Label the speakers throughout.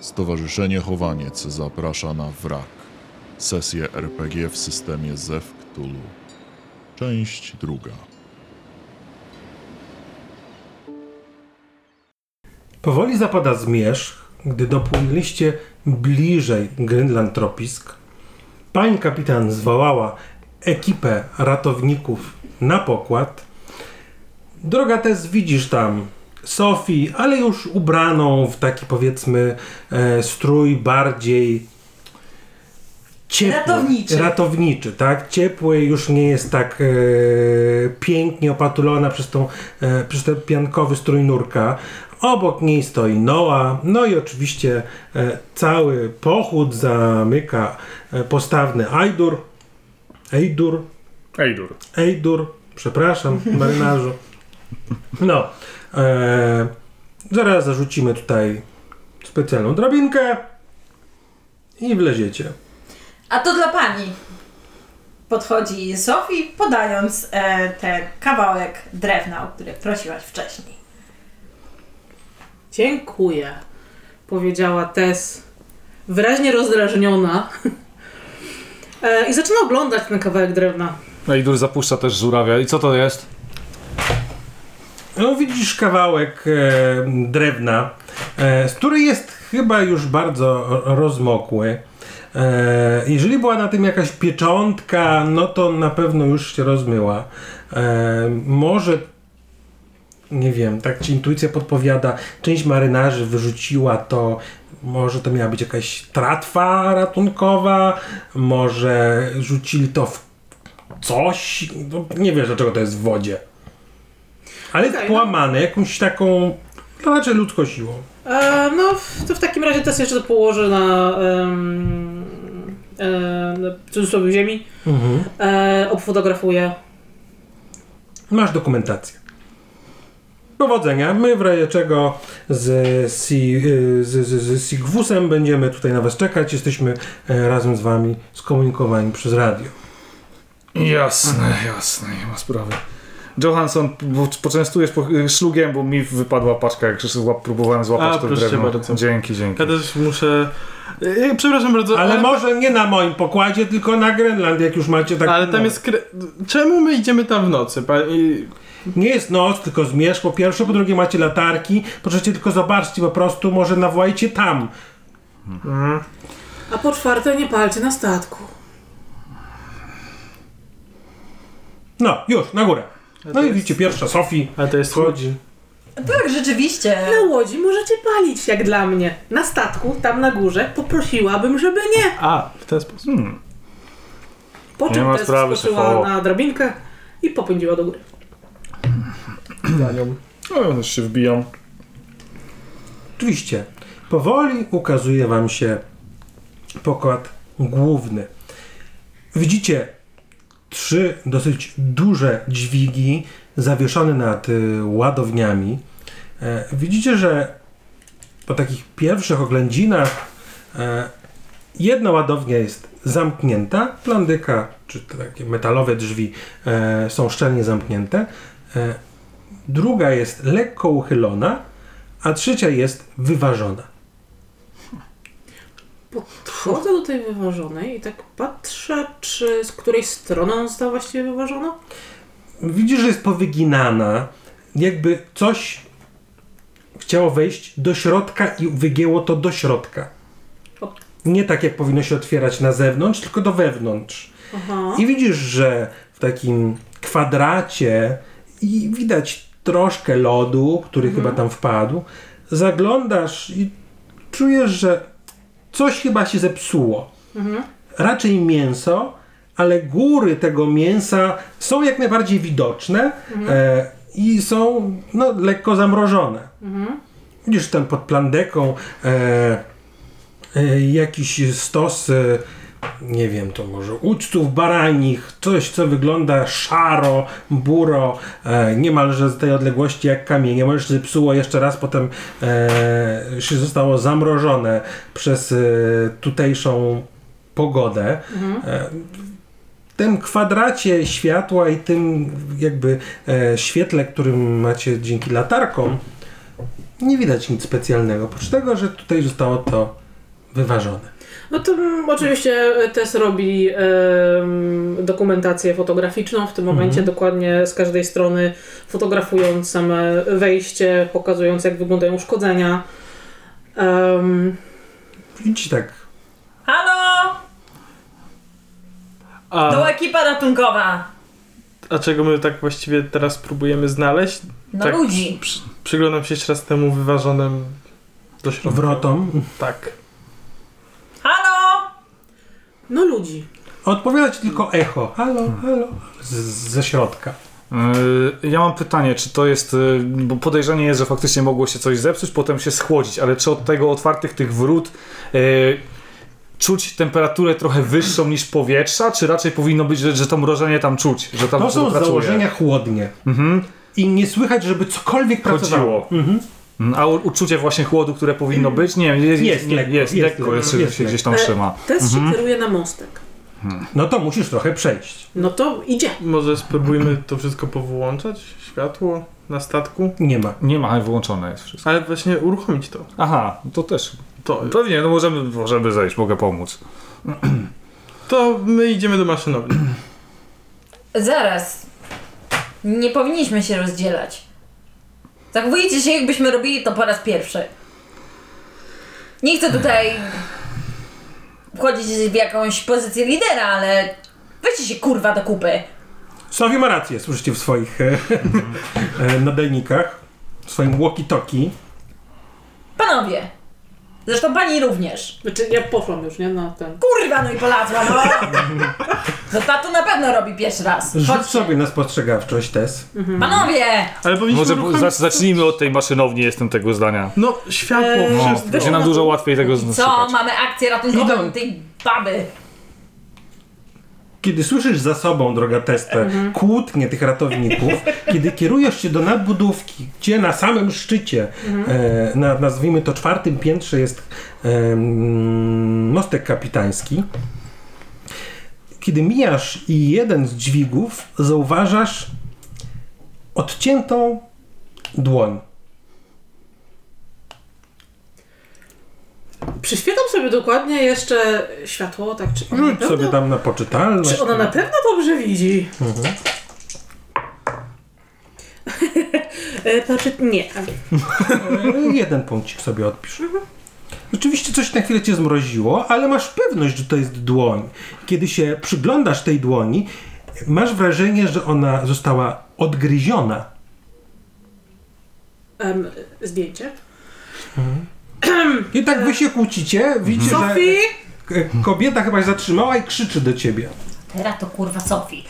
Speaker 1: Stowarzyszenie Chowaniec zaprasza na wrak. Sesję RPG w systemie Zew Cthulhu. Część druga.
Speaker 2: Powoli zapada zmierzch, gdy dopłynęliście bliżej Grynland Tropisk. Pani kapitan zwołała ekipę ratowników na pokład. Droga Tess, widzisz tam Sophie, ale już ubraną w taki powiedzmy e, strój bardziej ciepły.
Speaker 3: Ratowniczy.
Speaker 2: Ratowniczy, tak? Ciepły, już nie jest tak e, pięknie opatulona przez, tą, e, przez ten piankowy strój nurka. Obok niej stoi Noa, no i oczywiście e, cały pochód zamyka e, postawny Ajdur. Ejdur,
Speaker 4: Ejdur.
Speaker 2: Ejdur, przepraszam, marynarzu. No, e, zaraz zarzucimy tutaj specjalną drabinkę i wleziecie.
Speaker 3: A to dla pani. Podchodzi Sofii, podając e, ten kawałek drewna, o który prosiłaś wcześniej.
Speaker 5: Dziękuję, powiedziała Tess, wyraźnie rozdrażniona. E, I zaczyna oglądać ten kawałek drewna.
Speaker 4: Ejdur No zapuszcza też żurawia. I co to jest?
Speaker 2: No, widzisz kawałek e, drewna, e, z który jest chyba już bardzo ro- rozmokły. E, jeżeli była na tym jakaś pieczątka, no to na pewno już się rozmyła. E, może, nie wiem, tak ci intuicja podpowiada, część marynarzy wyrzuciła to. Może to miała być jakaś tratwa ratunkowa, może rzucili to w coś. No, nie wiesz, dlaczego to jest w wodzie. Ale
Speaker 5: Okej,
Speaker 2: połamane jakąś taką, no raczej ludzką siłą.
Speaker 5: E, no, w- to w takim razie Tess jeszcze to położy na, em, e, na w cudzysłowie ziemi.
Speaker 2: Mhm.
Speaker 5: E, obfotografuje.
Speaker 2: Masz dokumentację. Powodzenia. My w razie czego z, si, y, z, z, z Sigwusem będziemy tutaj na was czekać. Jesteśmy e, razem z wami skomunikowani przez radio.
Speaker 4: Jasne, jasne, nie ma sprawy. Johansson, po- poczęstujesz po, y, szlugiem, bo mi wypadła paczka, jak złap, próbowałem złapać
Speaker 6: A,
Speaker 4: to
Speaker 6: proszę
Speaker 4: drewno.
Speaker 6: bardzo.
Speaker 4: Dzięki, dzięki.
Speaker 6: Ja też muszę. Ej, Przepraszam bardzo,
Speaker 2: Ale
Speaker 6: ale,
Speaker 2: może nie na moim pokładzie, tylko na Grenland, jak już macie tak.
Speaker 6: ale tam jest. Kre... Czemu my idziemy tam w nocy? Pa... i-
Speaker 2: Nie jest noc, tylko zmierzch po pierwsze, po drugie macie latarki. Po trzecie tylko zobaczcie po prostu, może nawołajcie tam.
Speaker 5: A po czwarte, nie palcie na statku.
Speaker 2: No, już, na górę. No i widzicie, pierwsza Sofii
Speaker 6: A to jest
Speaker 2: wchodzi.
Speaker 3: Tak, rzeczywiście.
Speaker 5: Na łodzi możecie palić, jak dla mnie. Na statku, tam na górze, poprosiłabym, żeby nie.
Speaker 6: A, w ten sposób.
Speaker 4: Hmm.
Speaker 5: Po
Speaker 4: Nie
Speaker 5: czym
Speaker 4: ma
Speaker 5: Tess
Speaker 4: sprawy,
Speaker 5: skoczyła
Speaker 4: szefowo.
Speaker 5: na drabinkę i popędziła do góry.
Speaker 4: No, ja też się wbijam.
Speaker 2: Oczywiście, powoli ukazuje Wam się pokład główny. Widzicie trzy dosyć duże dźwigi zawieszone nad y, ładowniami. E, widzicie, że po takich pierwszych oględzinach e, jedna ładownia jest zamknięta, plandyka czy te takie metalowe drzwi e, są szczelnie zamknięte. E, druga jest lekko uchylona, a trzecia jest wyważona.
Speaker 5: Podchodzę do tej wyważonej i tak patrzę, czy z której strony ona została właściwie wyważona.
Speaker 2: Widzisz, że jest powyginana, jakby coś chciało wejść do środka i wygięło to do środka.
Speaker 5: O.
Speaker 2: Nie tak jak powinno się otwierać na zewnątrz, tylko do wewnątrz.
Speaker 5: Aha.
Speaker 2: I widzisz, że w takim kwadracie i widać troszkę lodu, który chyba tam wpadł. Zaglądasz i czujesz, że coś chyba się zepsuło. Raczej mięso, ale góry tego mięsa są jak najbardziej widoczne e, i są no, lekko zamrożone. Widzisz tam pod plandeką e, e, jakiś stos, e, nie wiem, to może ucztów baranich, coś co wygląda szaro, buro, e, niemalże z tej odległości jak kamienie. Możesz zepsuło jeszcze raz, potem e, się zostało zamrożone przez e, tutejszą pogodę. E, w tym kwadracie światła i tym jakby e, świetle, którym macie dzięki latarkom, nie widać nic specjalnego. Oprócz tego, że tutaj zostało to wyważone.
Speaker 5: No to mm, oczywiście TES robi em, dokumentację fotograficzną w tym
Speaker 2: Mhm.
Speaker 5: momencie, dokładnie z każdej strony, fotografując same wejście, pokazując jak wyglądają uszkodzenia. Em,
Speaker 2: Widzicie tak,
Speaker 3: Halo!
Speaker 6: A,
Speaker 3: To ekipa ratunkowa.
Speaker 6: a czego my tak właściwie teraz próbujemy znaleźć?
Speaker 3: No
Speaker 6: Tak.
Speaker 3: ludzi.
Speaker 6: Przy, przyglądam się jeszcze raz temu wyważonym do środka.
Speaker 2: wrotą.
Speaker 6: Tak.
Speaker 3: Halo!
Speaker 5: no ludzi.
Speaker 2: Odpowiada ci tylko echo. Halo, halo. Z, ze środka.
Speaker 4: Yy, Ja mam pytanie, czy to jest, yy, bo podejrzenie jest, że faktycznie mogło się coś zepsuć, potem się schłodzić, ale czy od tego otwartych tych wrót yy, czuć temperaturę trochę wyższą niż powietrza, czy raczej powinno być, że, że to mrożenie tam czuć, że tam
Speaker 2: To są z
Speaker 4: pracuje?
Speaker 2: założenia chłodnie.
Speaker 4: Mhm,
Speaker 2: I nie słychać, żeby cokolwiek pracowało. Mhm.
Speaker 4: chodziło. Mm, A u- uczucie właśnie chłodu, które powinno być? Nie, Mm. jest,
Speaker 2: Jest
Speaker 4: nie,
Speaker 2: lekko,
Speaker 4: jest,
Speaker 2: jest
Speaker 4: lekko, jest,
Speaker 2: lekko, jest
Speaker 4: się gdzieś tam
Speaker 5: lekko.
Speaker 4: trzyma.
Speaker 5: TES
Speaker 2: Mhm.
Speaker 5: się kieruje na mostek.
Speaker 2: No to musisz trochę przejść.
Speaker 5: No to idzie.
Speaker 6: Może spróbujmy to wszystko powyłączać? Światło na statku?
Speaker 2: Nie ma.
Speaker 4: Nie ma, wyłączone jest wszystko.
Speaker 6: Ale właśnie uruchomić to.
Speaker 4: Aha, to też.
Speaker 6: To,
Speaker 4: Pewnie, no możemy, możemy zejść, mogę pomóc.
Speaker 6: to my idziemy do maszynowni.
Speaker 3: Zaraz. Nie powinniśmy się rozdzielać. Zachowujecie się, jakbyśmy robili to po raz pierwszy. Nie chcę tutaj wchodzić w jakąś pozycję lidera, ale weźcie się kurwa do kupy.
Speaker 2: Sowi ma rację, słyszycie w swoich e, e, nadajnikach, w swoim walkie-talkie.
Speaker 3: Panowie. Zresztą pani również.
Speaker 5: Znaczy ja poszłam już, nie? Na ten.
Speaker 3: Kurwa, no i polazła, no! No ta to na pewno robi pierwszy raz.
Speaker 2: Rzuć
Speaker 3: Chodźcie.
Speaker 2: sobie na spostrzegawczość, Tess.
Speaker 3: Panowie!
Speaker 6: Ale powinniśmy
Speaker 4: Może
Speaker 6: uruchomić...
Speaker 4: zacz, zacznijmy od tej maszynowni, jestem tego zdania.
Speaker 6: No, światło,
Speaker 5: Eee,
Speaker 6: wszystko.
Speaker 5: wyszło
Speaker 4: Będzie nam
Speaker 5: na
Speaker 4: dużo
Speaker 5: to-
Speaker 4: łatwiej tego
Speaker 3: Co?
Speaker 4: znaleźć.
Speaker 3: Mamy akcję ratunkową
Speaker 2: No Idą.
Speaker 3: tej baby.
Speaker 2: Kiedy słyszysz za sobą, droga Testę, kłótnie tych ratowników, kiedy kierujesz się do nadbudówki, gdzie na samym szczycie, e, na, nazwijmy to czwartym piętrze, jest em, mostek kapitański, kiedy mijasz i jeden z dźwigów, zauważasz odciętą dłoń.
Speaker 5: Przyświetam sobie dokładnie jeszcze światło, tak czy ona na
Speaker 2: Rzuć
Speaker 5: pewno,
Speaker 2: sobie tam na poczytalność.
Speaker 5: Czy ona na pewno dobrze widzi? E, Znaczy nie.
Speaker 2: E, Jeden punkcik sobie odpisz.
Speaker 5: Mhm.
Speaker 2: Oczywiście coś na chwilę cię zmroziło, ale masz pewność, że to jest dłoń. Kiedy się przyglądasz tej dłoni, masz wrażenie, że ona została odgryziona.
Speaker 5: Em, zdjęcie.
Speaker 2: I tak wy się kłócicie, widzicie, że
Speaker 5: Sophie!
Speaker 2: k- kobieta chyba się zatrzymała i krzyczy do ciebie.
Speaker 3: Teraz to kurwa Sofii.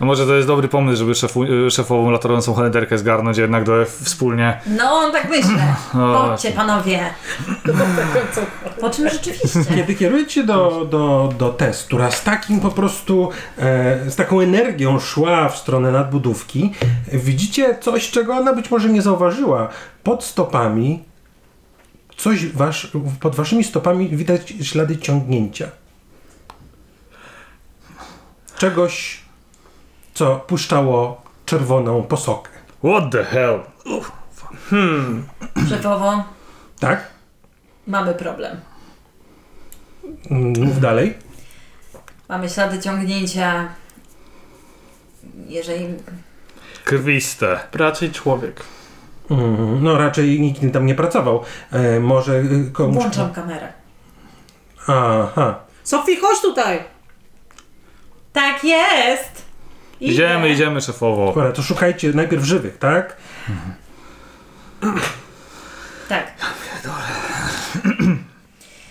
Speaker 4: No może to jest dobry pomysł, żeby szefu, y, szefową latarującą Henderkę zgarnąć jednak do F wspólnie.
Speaker 3: No, tak myślę. Chodźcie,
Speaker 2: tak.
Speaker 3: panowie.
Speaker 5: Co?
Speaker 3: Po czym rzeczywiście?
Speaker 2: Kiedy kierujecie do, do, do Tess, która z takim po prostu, e, z taką energią szła w stronę nadbudówki, widzicie coś, czego ona być może nie zauważyła. Pod stopami, coś wasz, pod waszymi stopami widać ślady ciągnięcia. Czegoś, co puszczało czerwoną posokę.
Speaker 4: What the hell?
Speaker 3: Szefowo,
Speaker 2: Tak?
Speaker 3: mamy problem.
Speaker 2: Mm, Mów dalej.
Speaker 3: Mamy ślady ciągnięcia. Jeżeli.
Speaker 4: Krwiste.
Speaker 6: Raczej człowiek.
Speaker 2: Mm, No raczej nikt tam nie pracował. E, może y, komuś...
Speaker 3: Włączam kamerę.
Speaker 2: Aha.
Speaker 5: Sophie, chodź tutaj!
Speaker 3: Tak jest! Idę.
Speaker 4: Idziemy, idziemy szefowo.
Speaker 2: Dobra, to szukajcie najpierw żywych, tak?
Speaker 3: Tak.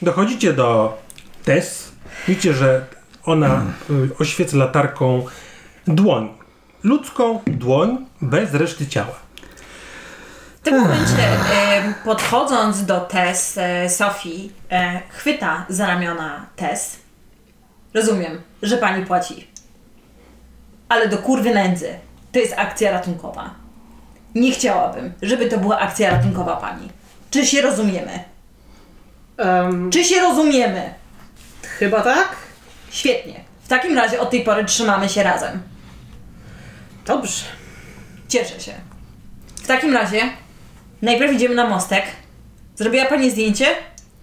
Speaker 2: Dochodzicie do Tess. Widzicie, że ona y, oświeca latarką dłoń. Ludzką dłoń bez reszty ciała.
Speaker 3: W tym momencie, em, podchodząc do Tess, e, Sofii e, chwyta za ramiona Tess. Rozumiem, że pani płaci. Ale do kurwy nędzy. To jest akcja ratunkowa. Nie chciałabym, żeby to była akcja ratunkowa pani. Czy się rozumiemy?
Speaker 5: Em,
Speaker 3: Czy się rozumiemy?
Speaker 5: chyba tak?
Speaker 3: Świetnie. W takim razie od tej pory trzymamy się razem.
Speaker 5: Dobrze.
Speaker 3: Cieszę się. W takim razie najpierw idziemy na mostek. Zrobiła Pani zdjęcie?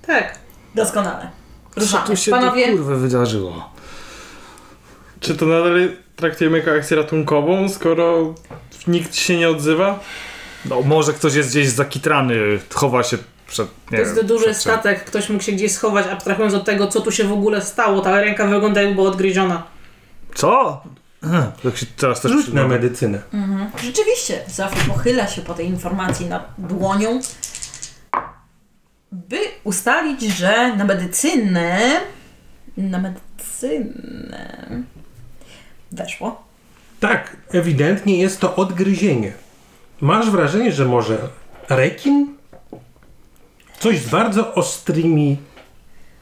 Speaker 5: Tak.
Speaker 3: Doskonale.
Speaker 4: Co tu
Speaker 3: Ruszamy.
Speaker 4: się tu,
Speaker 3: Panowie,
Speaker 4: kurwa wydarzyło?
Speaker 6: Czy to nadal traktujemy jako akcję ratunkową, skoro nikt się nie odzywa?
Speaker 4: No może ktoś jest gdzieś zakitrany, chowa się przed, nie
Speaker 5: To jest
Speaker 4: wiem,
Speaker 5: duży
Speaker 4: przed czym.
Speaker 5: statek, ktoś mógł się gdzieś schować, abstrahując od tego, co tu się w ogóle stało. Ta ręka wygląda jakby była odgryziona.
Speaker 4: Co? Jak się teraz też
Speaker 2: Rzuć na
Speaker 4: przyglądam.
Speaker 2: medycynę.
Speaker 3: mhm. rzeczywiście, Zofia pochyla się po tej informacji nad dłonią, by ustalić, że na medycynę. Na medycynę. Weszło.
Speaker 2: Tak, ewidentnie jest to odgryzienie. Masz wrażenie, że może rekin? Coś z bardzo ostrymi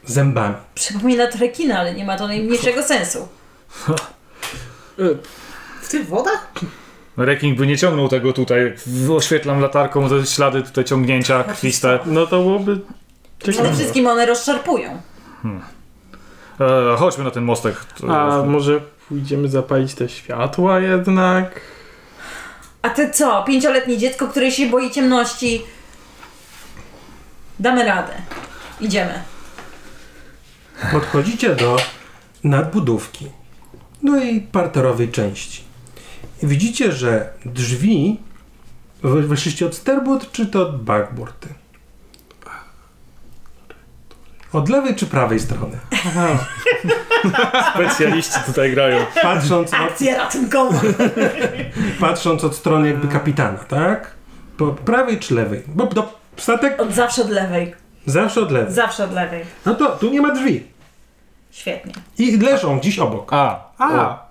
Speaker 2: zębami.
Speaker 3: Przypomina trekina, ale nie ma to najmniejszego sensu.
Speaker 5: W tych wodach?
Speaker 4: Reking by nie ciągnął tego tutaj. Oświetlam latarką te ślady tutaj ciągnięcia, krwiste.
Speaker 6: No to byłoby
Speaker 3: Przede
Speaker 6: ciekawe.
Speaker 3: wszystkim one rozszarpują.
Speaker 4: E, chodźmy na ten mostek.
Speaker 6: A może pójdziemy zapalić te światła jednak?
Speaker 3: A ty co, pięcioletnie dziecko, które się boi ciemności? Damy radę. Idziemy.
Speaker 2: Podchodzicie do nadbudówki, no i parterowej części. I Widzicie, że drzwi wy- wyszliście od sterbord czy to od backboardy? Od lewej czy prawej strony?
Speaker 4: Specjaliści tutaj grają.
Speaker 2: Patrząc od,
Speaker 3: Akcja ratunkowa.
Speaker 2: patrząc od strony jakby kapitana, tak? Po prawej czy lewej? Bo do statek
Speaker 3: Od zawsze od lewej.
Speaker 2: zawsze od lewej.
Speaker 3: Zawsze od lewej.
Speaker 2: No to tu nie ma drzwi.
Speaker 3: Świetnie.
Speaker 2: I leżą gdzieś obok.
Speaker 4: A,
Speaker 6: A,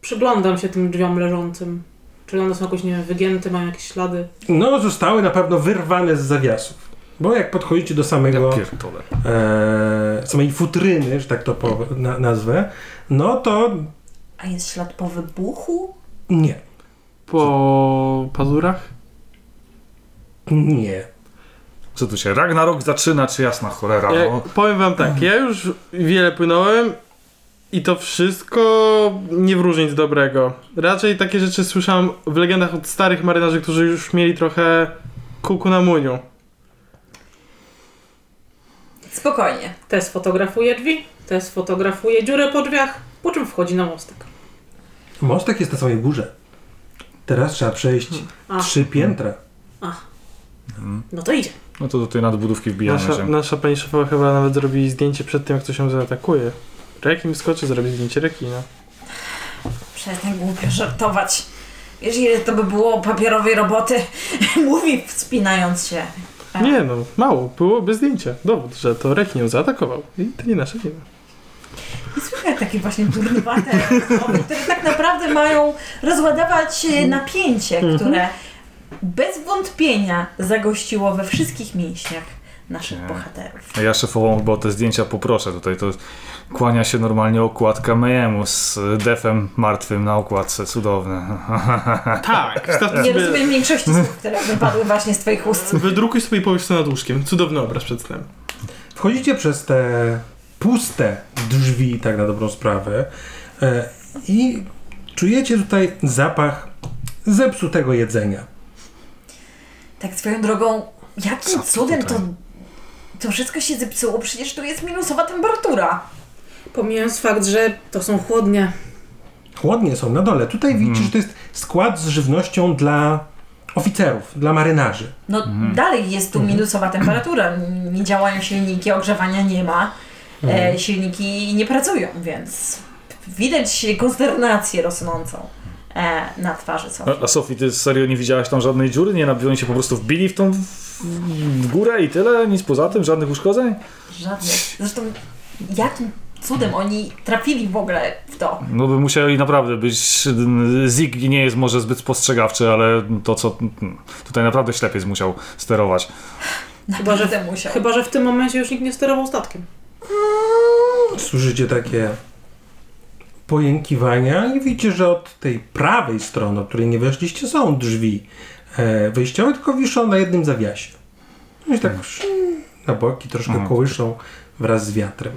Speaker 5: Przyglądam się tym drzwiom leżącym. Czy one są jakoś, nie wiem, wygięte, mają jakieś ślady?
Speaker 2: No, zostały na pewno wyrwane z zawiasów. Bo jak podchodzicie do samego...
Speaker 4: ja pierdolę.
Speaker 2: e, samej futryny, że tak to po, na, nazwę, no to
Speaker 3: A jest ślad po wybuchu?
Speaker 2: nie,
Speaker 6: po pazurach?
Speaker 2: nie.
Speaker 4: Co tu się, Ragnarok zaczyna, czy jasna cholera?
Speaker 6: Ja,
Speaker 4: No.
Speaker 6: powiem wam tak, ja już wiele płynąłem i to wszystko nie wróży nic dobrego. Raczej takie rzeczy słyszałem w legendach od starych marynarzy, którzy już mieli trochę kuku na muniu.
Speaker 3: Spokojnie.
Speaker 5: Te sfotografuje drzwi, te sfotografuje dziurę po drzwiach, po czym wchodzi na mostek.
Speaker 2: Mostek jest na samej górze. Teraz trzeba przejść
Speaker 5: A.
Speaker 2: trzy piętra.
Speaker 5: No to idzie.
Speaker 4: no to do tej nadbudówki wbijamy
Speaker 6: Nasza,
Speaker 4: się.
Speaker 6: nasza pani szefowa chyba nawet zrobi zdjęcie przed tym, jak ktoś ją zaatakuje. Rekim skoczy, zrobi zdjęcie rekina.
Speaker 3: Przestań głupio żartować. Wiesz, ile to by było papierowej roboty? Mówi wspinając się. A.
Speaker 6: Nie no, mało, byłoby zdjęcie. Dowód, że to rekin ją zaatakował. I to nie nasza wina.
Speaker 3: I słychać takie właśnie durnowate osoby, które tak naprawdę mają rozładować e, napięcie, które bez wątpienia zagościło we wszystkich mięśniach naszych
Speaker 4: Nie.
Speaker 3: bohaterów.
Speaker 4: Ja szefową chyba o te zdjęcia poproszę tutaj. To kłania się normalnie okładka mejemu z defem martwym na okładce. Cudowne.
Speaker 6: Tak, wstawmy
Speaker 3: Nie
Speaker 6: sobie,
Speaker 3: rozumiem większości słów, które wypadły właśnie z Twoich ust.
Speaker 6: wydrukuj sobie i powiesz to nad łóżkiem. Cudowny obraz przed snem.
Speaker 2: Wchodzicie przez te puste drzwi, tak na dobrą sprawę, e, i czujecie tutaj zapach zepsutego jedzenia.
Speaker 3: Tak swoją drogą,
Speaker 4: Co
Speaker 3: jakim
Speaker 4: tu
Speaker 3: cudem to,
Speaker 4: tutaj?
Speaker 3: to wszystko się zepsuło? Przecież tu jest minusowa temperatura.
Speaker 5: Pomijając fakt, że to są chłodnie.
Speaker 2: Chłodnie są na dole. Tutaj widzicie, że to jest skład z żywnością dla oficerów, dla marynarzy.
Speaker 3: No
Speaker 4: Mhm.
Speaker 3: dalej jest tu minusowa temperatura, nie działają silniki, ogrzewania nie ma, e,
Speaker 4: Mhm.
Speaker 3: silniki nie pracują, więc widać konsternację rosnącą e, na twarzy Sofii.
Speaker 4: A, a Sofie, ty serio nie widziałaś tam żadnej dziury? Nie nabiło, oni się po prostu wbili w tą w, w górę i tyle? Nic poza tym? Żadnych uszkodzeń?
Speaker 3: Żadnych. Zresztą jakim cudem oni trafili w ogóle w to?
Speaker 4: No by musieli naprawdę być... Zig nie jest może zbyt spostrzegawczy, ale to co... Tutaj naprawdę ślepiec musiał sterować.
Speaker 5: Chyba, że-
Speaker 3: Naprawdę musiał.
Speaker 5: Chyba, że w tym momencie już nikt nie sterował statkiem.
Speaker 2: No, Słyszycie takie pojękiwania i widzicie, że od tej prawej strony, od której nie weszliście, są drzwi e, wyjściowe, tylko wiszą na jednym zawiasie. No i tak szum, na boki troszkę
Speaker 4: Mhm.
Speaker 2: kołyszą wraz z wiatrem.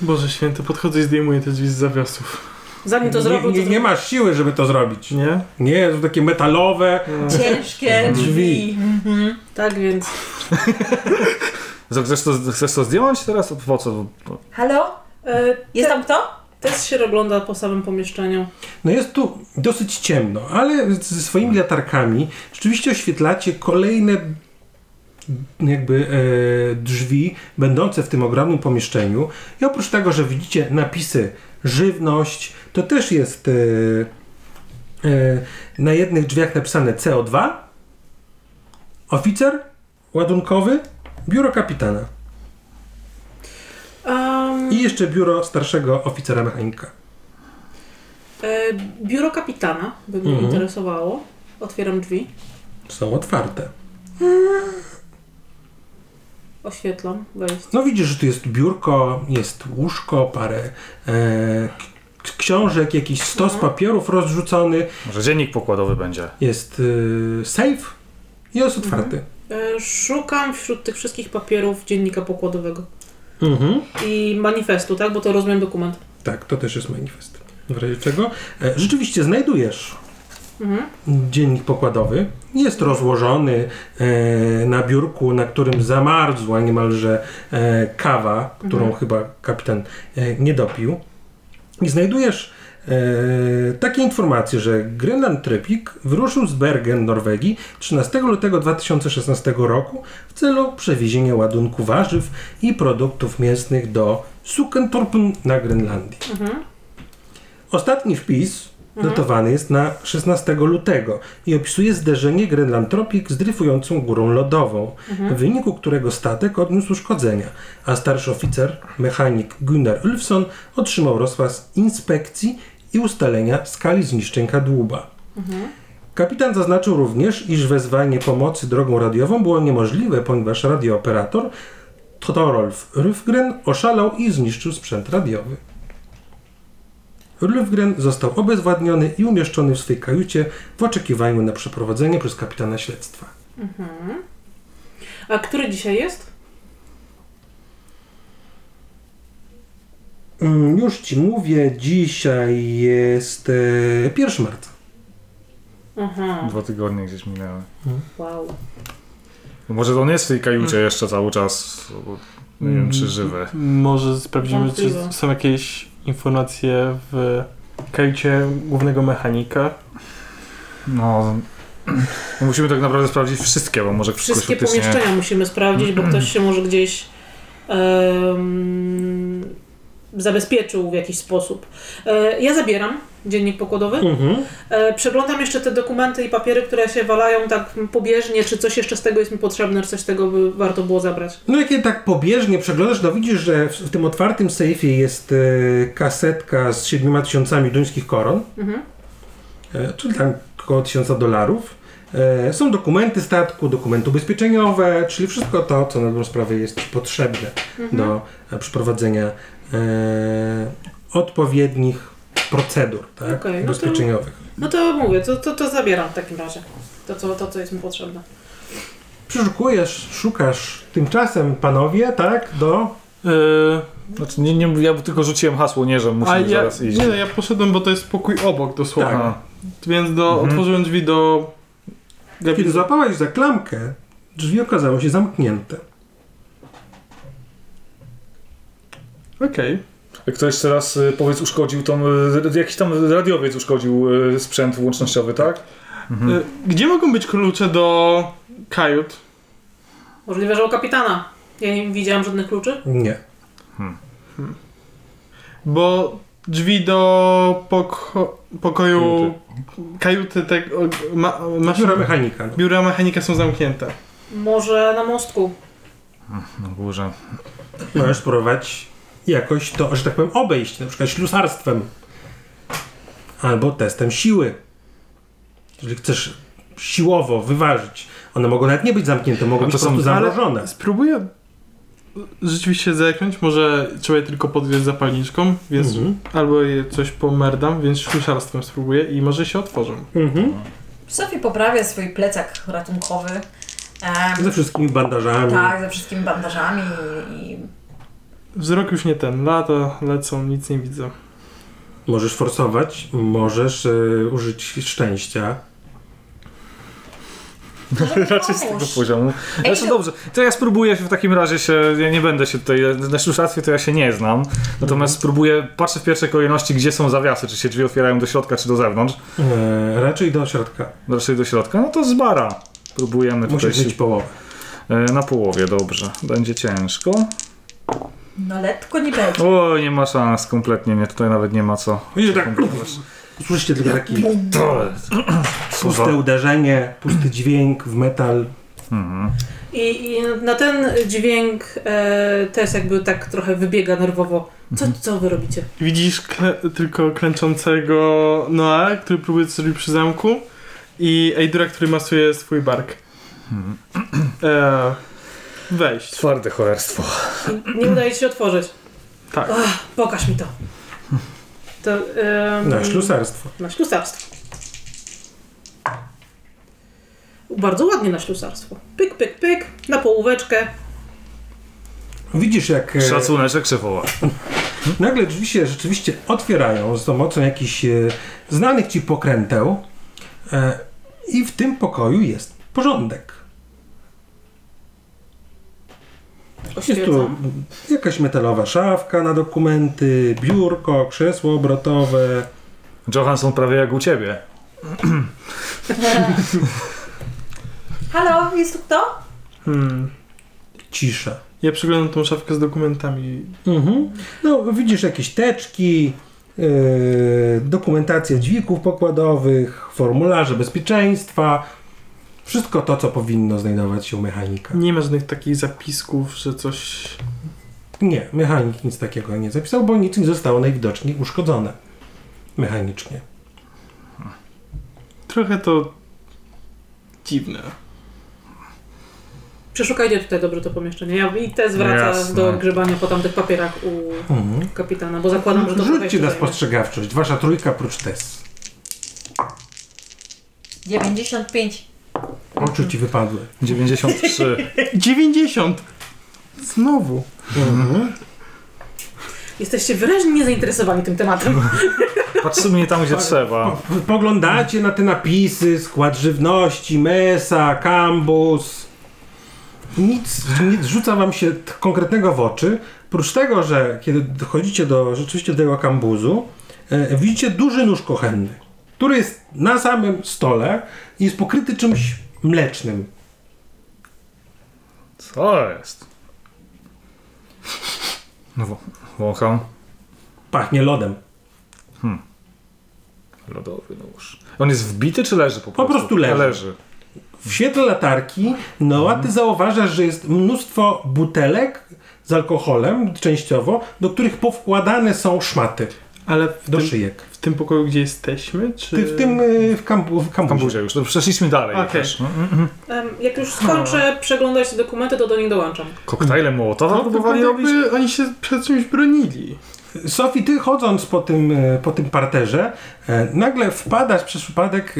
Speaker 6: Boże święty, podchodzę i zdejmuję te drzwi z zawiasów.
Speaker 5: Zanim to
Speaker 2: Nie,
Speaker 5: zrobił,
Speaker 2: nie,
Speaker 5: to
Speaker 2: nie masz siły, żeby to zrobić.
Speaker 6: Nie?
Speaker 2: Nie, są takie metalowe.
Speaker 3: Ciężkie
Speaker 2: Drzwi.
Speaker 3: drzwi. Mhm.
Speaker 5: Tak więc
Speaker 4: Chcesz to, chcesz to zdjąć teraz? Po co?
Speaker 3: Halo?
Speaker 5: E,
Speaker 3: Jest
Speaker 5: te-
Speaker 3: tam kto?
Speaker 5: Test się ogląda po samym pomieszczeniu.
Speaker 2: No jest tu dosyć ciemno, ale z- ze swoimi latarkami rzeczywiście oświetlacie kolejne jakby e, drzwi będące w tym ogromnym pomieszczeniu i oprócz tego, że widzicie napisy żywność, to też jest e, e, na jednych drzwiach napisane CO2 oficer ładunkowy biuro kapitana
Speaker 5: Um,
Speaker 2: i jeszcze biuro starszego oficera mechanika.
Speaker 5: e, biuro kapitana by mnie
Speaker 2: Mhm.
Speaker 5: interesowało. Otwieram drzwi,
Speaker 2: Są otwarte.
Speaker 5: oświetlam wejście.
Speaker 2: No widzisz, że tu jest biurko, jest łóżko, parę e, k- książek, jakiś stos papierów rozrzucony,
Speaker 4: Może dziennik pokładowy będzie.
Speaker 2: jest e, safe i jest otwarty.
Speaker 5: E, szukam wśród tych wszystkich papierów dziennika pokładowego.
Speaker 2: Mhm.
Speaker 5: I manifestu, tak? Bo to rozumiem dokument.
Speaker 2: Tak, to też jest manifest. W razie czego? E, rzeczywiście znajdujesz
Speaker 5: Mhm.
Speaker 2: dziennik pokładowy. Jest rozłożony e, na biurku, na którym zamarzła niemalże e, kawa, którą chyba kapitan e, nie dopił. I znajdujesz e, takie informacje, że Greenland Trypik wyruszył z Bergen, Norwegii 13 lutego 2016 roku w celu przewiezienia ładunku warzyw i produktów mięsnych do Sukentorpen na Grenlandii.
Speaker 5: Mhm.
Speaker 2: Ostatni wpis datowany jest na 16 lutego i opisuje zderzenie Grenland Tropic z dryfującą górą lodową, w wyniku którego statek odniósł uszkodzenia, a starszy oficer, mechanik Gunnar Ulfson otrzymał rozkaz inspekcji i ustalenia skali zniszczeń kadłuba. Kapitan zaznaczył również, iż wezwanie pomocy drogą radiową było niemożliwe, ponieważ radiooperator Torolf Rufgren oszalał i zniszczył sprzęt radiowy. Rulfgren został obezwładniony i umieszczony w swej kajucie w oczekiwaniu na przeprowadzenie przez kapitana śledztwa.
Speaker 5: Mhm. A który dzisiaj jest?
Speaker 2: Mm, Już ci mówię, dzisiaj jest e, 1 marca.
Speaker 5: Aha,
Speaker 4: Dwa tygodnie gdzieś minęły.
Speaker 5: Mhm.
Speaker 4: No
Speaker 5: wow.
Speaker 4: Może on jest w tej kajucie
Speaker 5: Mm.
Speaker 4: jeszcze cały czas. bo Nie wiem, czy żywy.
Speaker 6: Może sprawdzimy, czy
Speaker 5: Wątpliwe.
Speaker 6: są jakieś informacje w kajucie głównego mechanika.
Speaker 4: No. Musimy tak naprawdę sprawdzić wszystkie, bo może ktoś
Speaker 5: Wszystkie
Speaker 4: faktycznie-
Speaker 5: pomieszczenia musimy sprawdzić, bo ktoś się może gdzieś em, zabezpieczył w jakiś sposób. E, ja zabieram dziennik pokładowy.
Speaker 2: Mhm.
Speaker 5: E, przeglądam jeszcze te dokumenty i papiery, które się walają tak pobieżnie, czy coś jeszcze z tego jest mi potrzebne, czy coś z tego by warto było zabrać.
Speaker 2: No jak je tak pobieżnie przeglądasz, no widzisz, że w, w tym otwartym sejfie jest e, kasetka z 7 tysiącami duńskich koron,
Speaker 5: Mhm.
Speaker 2: e, czyli tam około 1000 dolarów. E, są dokumenty statku, dokumenty ubezpieczeniowe, czyli wszystko to, co na dobrą sprawę jest potrzebne.
Speaker 5: Mhm.
Speaker 2: do e, przeprowadzenia e, odpowiednich procedur tak,
Speaker 5: Okej, no to-
Speaker 2: ubezpieczeniowych.
Speaker 5: No to mówię, to, to, to zabieram w takim razie. To, co, to, co jest mi potrzebne.
Speaker 2: Przeszukujesz, szukasz tymczasem panowie, tak, do...
Speaker 6: Yy,
Speaker 4: Znaczy, nie, nie, ja tylko rzuciłem hasło, nie, że
Speaker 6: a
Speaker 4: musimy
Speaker 6: ja,
Speaker 4: zaraz iść.
Speaker 6: nie, no, ja poszedłem, bo to jest pokój obok dosłownie.
Speaker 2: Tak.
Speaker 4: Aha.
Speaker 6: Więc do,
Speaker 4: Mhm.
Speaker 6: otworzyłem drzwi do...
Speaker 2: Kiedy
Speaker 6: gabinetu.
Speaker 2: złapałeś za klamkę, drzwi okazały się zamknięte.
Speaker 6: Okej.
Speaker 4: Ktoś jeszcze raz, y, powiedz, uszkodził tą, y, jakiś tam radiowiec uszkodził y, sprzęt łącznościowy, tak?
Speaker 2: Mhm.
Speaker 6: Y, Gdzie mogą być klucze do kajut?
Speaker 5: Możliwe, że u kapitana. Ja nie widziałam żadnych kluczy.
Speaker 2: Nie.
Speaker 6: Bo drzwi do poko pokoju kajuty tego ma
Speaker 2: Biura
Speaker 6: maszyny-
Speaker 2: mechanika. No.
Speaker 6: biura mechanika są zamknięte.
Speaker 5: Może na mostku.
Speaker 4: Na górze.
Speaker 2: Możesz spróbować jakoś to, że tak powiem, obejść, na przykład ślusarstwem. Albo testem siły. Jeżeli chcesz siłowo wyważyć. One mogą nawet nie być zamknięte, mogą
Speaker 4: A
Speaker 2: być
Speaker 4: to
Speaker 2: po prostu
Speaker 4: są-
Speaker 2: zamrożone.
Speaker 6: Spróbuję rzeczywiście zerknąć, może trzeba je tylko podgryźć zapalniczką, więc
Speaker 2: Mhm.
Speaker 6: albo je coś pomerdam, więc ślusarstwem spróbuję i może się otworzą.
Speaker 2: Mhm.
Speaker 3: Sofie poprawia swój plecak ratunkowy. Em,
Speaker 2: Ze wszystkimi bandażami.
Speaker 3: tak, ze wszystkimi bandażami i
Speaker 6: Wzrok już nie ten, lata lecą, nic nie widzę.
Speaker 2: Możesz e, forsować, możesz y, użyć szczęścia.
Speaker 4: Raczej z tego poziomu. Znaczy
Speaker 3: to-
Speaker 4: dobrze, to ja spróbuję się w takim razie się, ja nie będę się tutaj, na szuszactwie to ja się nie znam, natomiast spróbuję, patrzę w pierwszej kolejności, gdzie są zawiasy, czy się drzwi otwierają do środka, czy do zewnątrz,
Speaker 2: E, raczej do środka.
Speaker 4: raczej do środka, no to z bara. Próbujemy
Speaker 2: Musi
Speaker 4: tutaj
Speaker 2: być
Speaker 4: się,
Speaker 2: połowę.
Speaker 4: e, na połowie, dobrze, będzie ciężko.
Speaker 3: No letko nie będzie.
Speaker 4: O, nie ma szans, kompletnie nie, tutaj nawet nie ma co.
Speaker 2: I tak, słyszycie tylko taki puste uderzenie, pusty dźwięk w metal.
Speaker 4: Mhm.
Speaker 5: I, I na ten dźwięk e, Tess jakby tak trochę wybiega nerwowo. Co, co wy robicie?
Speaker 6: Widzisz klę- tylko klęczącego Noa, który próbuje coś zrobić przy zamku i Eidura, który masuje swój bark.
Speaker 2: Hmm.
Speaker 6: E, wejść.
Speaker 4: Twarde cholerstwo.
Speaker 5: I nie udaje ci się otworzyć.
Speaker 6: Tak.
Speaker 5: Ach, pokaż mi to. To... em,
Speaker 2: No, ślusarstwo.
Speaker 5: Na ślusarstwo. Bardzo ładnie na ślusarstwo. Pyk, pyk, pyk, na połóweczkę.
Speaker 2: Widzisz, jak e,
Speaker 4: Szacuneczek szefowa.
Speaker 2: nagle drzwi się rzeczywiście otwierają z pomocą jakichś e, znanych ci pokręteł e, i w tym pokoju jest porządek. Jest tu
Speaker 5: Oświeca.
Speaker 2: jakaś metalowa szafka na dokumenty, biurko, krzesło obrotowe.
Speaker 4: Johansson prawie jak u ciebie.
Speaker 3: Halo, jest tu kto?
Speaker 6: Hmm.
Speaker 2: Cisza.
Speaker 6: Ja przeglądam tą szafkę z dokumentami.
Speaker 2: No, widzisz jakieś teczki, yy, dokumentację dźwigów pokładowych, formularze bezpieczeństwa. Wszystko to, co powinno znajdować się u mechanika.
Speaker 6: Nie ma żadnych takich zapisków, że coś...
Speaker 2: Nie, mechanik nic takiego nie zapisał, bo nic nie zostało najwidoczniej uszkodzone mechanicznie.
Speaker 6: Trochę to... dziwne.
Speaker 5: Przeszukajcie tutaj dobrze to pomieszczenie. Ja i te zwraca
Speaker 4: Jasne.
Speaker 5: do grzebania po tamtych papierach u
Speaker 2: Mhm.
Speaker 5: kapitana, bo zakładam, że to
Speaker 2: Rzućcie
Speaker 5: wejście
Speaker 2: na
Speaker 5: zajmie.
Speaker 2: spostrzegawczość. Wasza trójka prócz test.
Speaker 3: 95.
Speaker 2: Oczy ci wypadły.
Speaker 4: 93.
Speaker 6: 90! Znowu.
Speaker 5: Jesteście wyraźnie niezainteresowani tym tematem.
Speaker 4: Patrzymy nie tam, gdzie trzeba.
Speaker 2: Po- Poglądacie na te napisy, skład żywności, mesa, kambus. Nic nie rzuca wam się t- konkretnego w oczy. Prócz tego, że kiedy dochodzicie do rzeczywiście do tego kambuzu, e, widzicie duży nóż kochenny, który jest na samym stole i jest pokryty czymś mlecznym.
Speaker 4: Co jest? No, wą- wącham.
Speaker 2: Pachnie lodem.
Speaker 4: Lodowy nóż. On jest wbity czy leży po prostu?
Speaker 2: prostu leży.
Speaker 4: leży.
Speaker 2: W świetle latarki, no a ty zauważasz, że jest mnóstwo butelek z alkoholem częściowo, do których powkładane są szmaty
Speaker 6: Ale w
Speaker 2: do
Speaker 6: tym,
Speaker 2: szyjek.
Speaker 6: w tym pokoju, gdzie jesteśmy, czy...
Speaker 2: Ty w tym y, w, kambu, w
Speaker 4: W
Speaker 2: kambuzie.
Speaker 4: kambuzie już. No, przeszliśmy dalej.
Speaker 6: Okej.
Speaker 4: Też. Mm, mm, mm.
Speaker 5: Em, Jak już skończę przeglądać te dokumenty, to do nich dołączam.
Speaker 4: Koktajle Mołotowa
Speaker 6: No,
Speaker 4: próbowali
Speaker 6: tylko
Speaker 4: robić?
Speaker 6: jakby Oni się przed czymś bronili.
Speaker 2: Sofii, ty chodząc po tym, e, po tym parterze, e, nagle wpadasz przez przypadek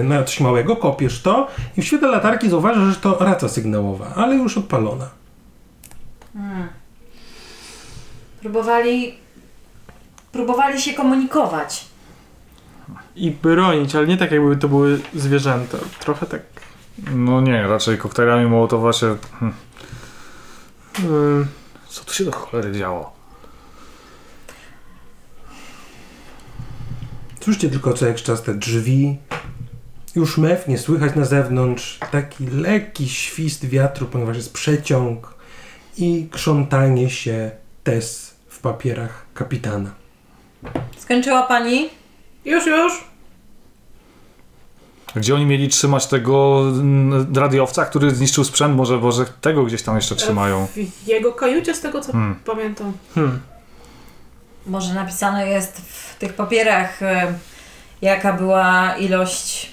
Speaker 2: e, na coś małego, kopiesz to i w świetle latarki zauważasz, że to raca sygnałowa, ale już odpalona.
Speaker 3: Hmm. Próbowali... Próbowali się komunikować.
Speaker 6: I bronić, ale nie tak jakby to były zwierzęta. Trochę tak...
Speaker 4: No nie, raczej koktajlami Mołotowa się... hm.
Speaker 6: Yy,
Speaker 4: Co tu się do cholery działo?
Speaker 2: Słyszycie tylko co jakiś czas te drzwi. Już mew nie słychać na zewnątrz. Taki lekki świst wiatru, ponieważ jest przeciąg i krzątanie się tes w papierach kapitana.
Speaker 3: Skończyła pani?
Speaker 5: Już, już.
Speaker 4: Gdzie oni mieli trzymać tego mm, radiowca, który zniszczył sprzęt? Może, może tego gdzieś tam jeszcze trzymają?
Speaker 5: W jego kajucie, z tego co
Speaker 4: Hmm.
Speaker 5: pamiętam.
Speaker 6: hmm.
Speaker 3: Może napisane jest w tych papierach, e, jaka była ilość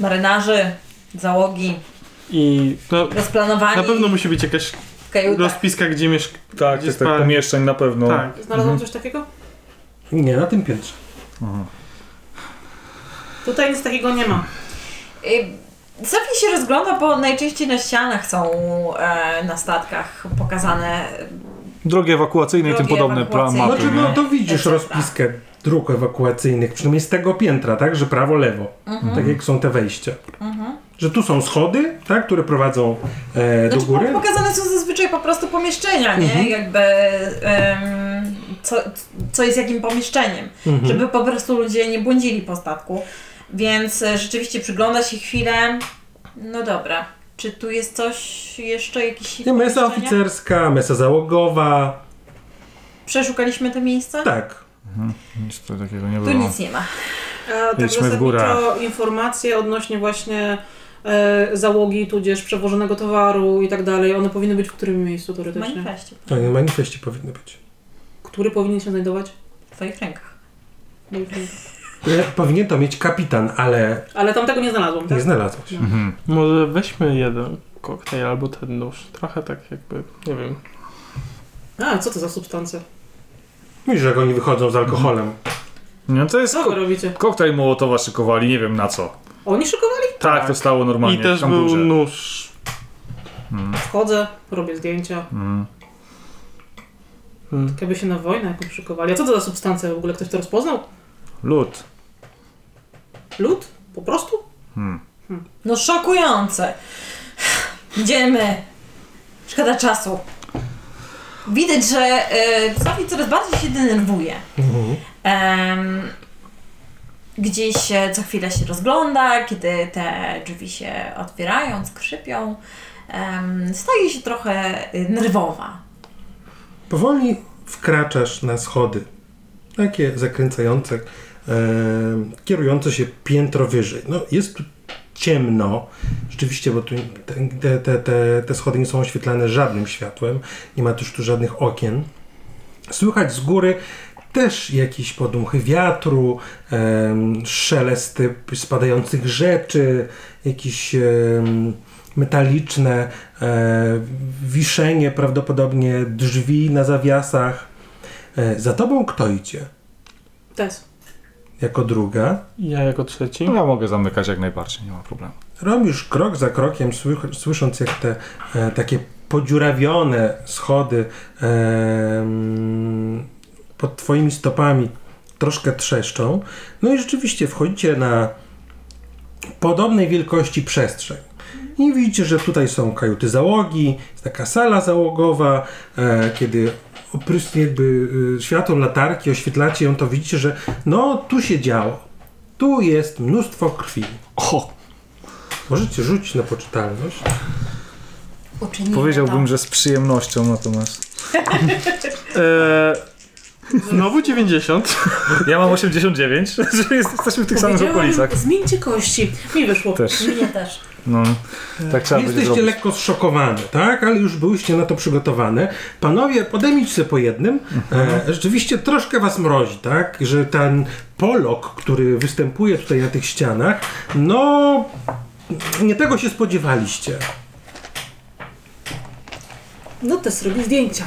Speaker 3: marynarzy, załogi,
Speaker 6: I no,
Speaker 3: rozplanowani
Speaker 6: na pewno musi być jakaś
Speaker 3: w kajutach.
Speaker 6: rozpiska, gdzie mieszka.
Speaker 4: Tak,
Speaker 6: Gdzie
Speaker 4: tych tak
Speaker 6: spali?
Speaker 4: pomieszczeń na pewno.
Speaker 6: Tak.
Speaker 5: Znalazłam coś takiego?
Speaker 2: Nie, na tym piętrze.
Speaker 5: Tutaj nic takiego nie ma.
Speaker 3: Y, Sofie się rozgląda, bo najczęściej na ścianach są e, na statkach pokazane
Speaker 4: Drogi ewakuacyjne i tym
Speaker 3: Drogi
Speaker 4: podobne
Speaker 3: ewakuacyjne.
Speaker 4: pra- mapy.
Speaker 2: Znaczy,
Speaker 4: nie?
Speaker 2: no to widzisz
Speaker 3: Etc.
Speaker 2: rozpiskę dróg ewakuacyjnych, przynajmniej z tego piętra, tak, że prawo, lewo, tak jak są te wejścia. Że tu są schody, tak, które prowadzą e, do
Speaker 3: Znaczy,
Speaker 2: góry. Mhm.
Speaker 3: pokazane są zazwyczaj po prostu pomieszczenia, nie? Jakby em, co, co jest jakim pomieszczeniem,
Speaker 2: Mhm.
Speaker 3: żeby po prostu ludzie nie błądzili po statku. Więc e, rzeczywiście przygląda się chwilę. No dobra, czy tu jest coś jeszcze, jakieś
Speaker 2: Nie, mesa
Speaker 3: pomieszczenia?
Speaker 2: oficerska, mesa załogowa,
Speaker 3: Przeszukaliśmy te miejsca?
Speaker 2: tak.
Speaker 4: Nic tutaj takiego nie
Speaker 3: Tu
Speaker 4: było.
Speaker 3: nic nie ma.
Speaker 5: A tak
Speaker 4: Jedźmy w
Speaker 5: zasadniczo informacje odnośnie właśnie e, załogi, tudzież przewożonego towaru i tak dalej, one powinny być w którym miejscu
Speaker 3: W
Speaker 5: teoretycznie?
Speaker 3: manifestie,
Speaker 2: To nie w manifestie powinno być.
Speaker 5: Który powinien się znajdować?
Speaker 3: w Twoich rękach.
Speaker 2: E, Powinien to mieć kapitan, ale
Speaker 5: Ale tam tego nie znalazłam, tak?
Speaker 2: nie znalazłeś.
Speaker 4: Mhm.
Speaker 6: Może weźmy jeden koktajl albo ten nóż. Trochę tak jakby, nie wiem.
Speaker 5: A, co to za substancja?
Speaker 2: Mówisz, jak oni wychodzą z alkoholem.
Speaker 4: No to jest
Speaker 5: Co wy robicie?
Speaker 4: koktajl Mołotowa szykowali, nie wiem na co.
Speaker 5: Oni szykowali?
Speaker 4: Tak, to stało normalnie
Speaker 6: I też
Speaker 4: w
Speaker 6: był
Speaker 4: kamburze.
Speaker 6: nóż.
Speaker 5: Wchodzę, robię zdjęcia.
Speaker 4: Mm.
Speaker 6: Hmm.
Speaker 5: Tak jakby się na wojnę jakoś szykowali. A co to za substancja? W ogóle ktoś to rozpoznał?
Speaker 4: Lód.
Speaker 5: Lód? Po prostu?
Speaker 3: No szokujące. Idziemy. Szkoda czasu. Widać, że y, Sofi coraz bardziej się denerwuje. Em, gdzieś e, co chwilę się rozgląda, kiedy te drzwi się otwierają, skrzypią. Em, staje się trochę y, nerwowa.
Speaker 2: Powoli wkraczasz na schody. Takie zakręcające, e, kierujące się piętro wyżej. No, jest tu ciemno, rzeczywiście, bo tu te, te, te, te schody nie są oświetlane żadnym światłem. Nie ma też tu żadnych okien. Słychać z góry też jakieś podmuchy wiatru, em, szelesty spadających rzeczy, jakieś em, metaliczne e, wiszenie prawdopodobnie drzwi na zawiasach. E, Za tobą kto idzie?
Speaker 5: Test.
Speaker 2: Jako druga.
Speaker 6: Ja jako trzeci.
Speaker 4: No ja mogę zamykać jak najbardziej, nie ma problemu.
Speaker 2: Robisz krok za krokiem, słych- słysząc jak te e, takie podziurawione schody em, pod twoimi stopami troszkę trzeszczą. No i rzeczywiście wchodzicie na podobnej wielkości przestrzeń. I widzicie, że tutaj są kajuty załogi, jest taka sala załogowa, e, kiedy oprys jakby y, światłem latarki oświetlacie ją, to widzicie, że no tu się działo. Tu jest mnóstwo krwi.
Speaker 4: O!
Speaker 2: Możecie rzucić na poczytalność.
Speaker 3: Uczyniła
Speaker 4: Powiedziałbym,
Speaker 3: to.
Speaker 4: że z przyjemnością natomiast.
Speaker 6: Eee, znowu 90.
Speaker 4: Ja mam 89, że jest- jesteśmy w tych samych
Speaker 5: Powiedziałem,
Speaker 4: okolicach.
Speaker 5: Zmieńcie kości. Mi wyszło.
Speaker 4: Też.
Speaker 3: Mnie też.
Speaker 4: No, tak trzeba będzie
Speaker 2: Jesteście
Speaker 4: zrobić.
Speaker 2: lekko zszokowane, tak? Ale już byłyście na to przygotowane. Panowie, podejmijcie sobie po jednym.
Speaker 4: Mhm.
Speaker 2: E, rzeczywiście troszkę was mrozi, tak? Że ten polok, który występuje tutaj na tych ścianach, no... Nie tego się spodziewaliście.
Speaker 5: No test robi zdjęcia.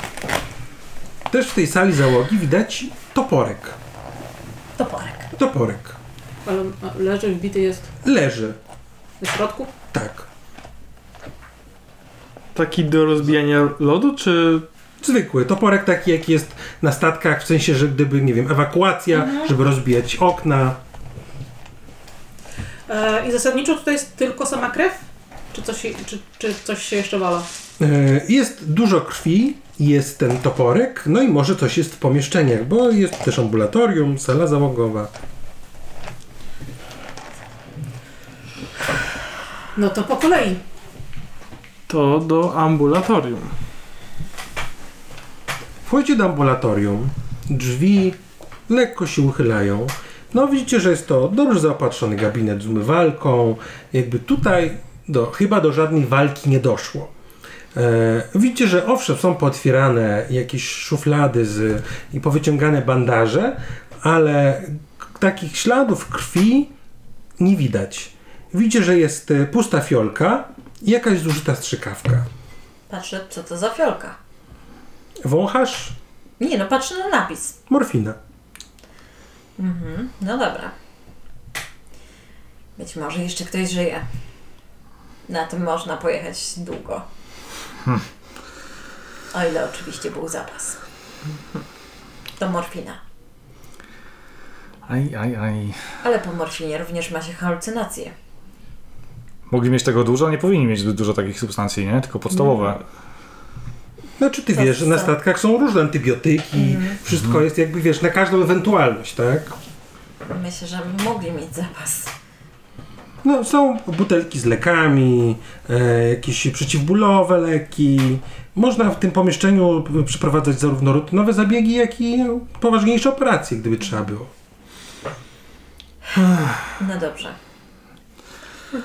Speaker 2: Też w tej sali załogi widać toporek.
Speaker 3: Toporek.
Speaker 2: Toporek.
Speaker 5: Ale on a, leży, wbity jest
Speaker 2: Leży.
Speaker 5: na środku.
Speaker 2: Tak.
Speaker 6: Taki do rozbijania lodu, czy
Speaker 2: Zwykły toporek taki, jak jest na statkach, w sensie, że gdyby, nie wiem, ewakuacja, żeby rozbijać okna.
Speaker 5: E, I zasadniczo tutaj jest tylko sama krew? Czy coś, czy, czy coś się jeszcze wala?
Speaker 2: E, Jest dużo krwi, jest ten toporek, no i może coś jest w pomieszczeniach, bo jest też ambulatorium, sala załogowa.
Speaker 5: No to po kolei.
Speaker 6: to do ambulatorium?
Speaker 2: Wchodzicie do ambulatorium, drzwi lekko się uchylają. No widzicie, że jest to dobrze zaopatrzony gabinet z umywalką. Jakby tutaj do, chyba do żadnej walki nie doszło. E, widzicie, że owszem, są pootwierane jakieś szuflady z, i powyciągane bandaże, ale k- takich śladów krwi nie widać. Widzicie, że jest e, pusta fiolka i jakaś zużyta strzykawka.
Speaker 3: Patrzę, co to za fiolka.
Speaker 2: Wąchasz?
Speaker 3: Nie no, patrzę na napis.
Speaker 2: Morfina.
Speaker 3: No dobra. Być może jeszcze ktoś żyje. Na tym można pojechać długo. O ile oczywiście był zapas. To morfina.
Speaker 4: Aj, aj, aj.
Speaker 3: Ale po morfinie również ma się halucynacje.
Speaker 4: Mogli mieć tego dużo? Nie powinni mieć zbyt dużo takich substancji, nie? Tylko podstawowe.
Speaker 5: No.
Speaker 2: Znaczy ty
Speaker 3: Co- Mhm.
Speaker 2: wiesz, na
Speaker 3: co?
Speaker 2: statkach są różne antybiotyki, wszystko jest jakby wiesz, na każdą ewentualność, tak?
Speaker 3: Myślę, że mogli mieć zapas.
Speaker 2: No są butelki z lekami, e, jakieś przeciwbólowe leki. Można w tym pomieszczeniu p- przeprowadzać zarówno rutynowe zabiegi, jak i no, poważniejsze operacje, gdyby trzeba było.
Speaker 3: No dobrze. E,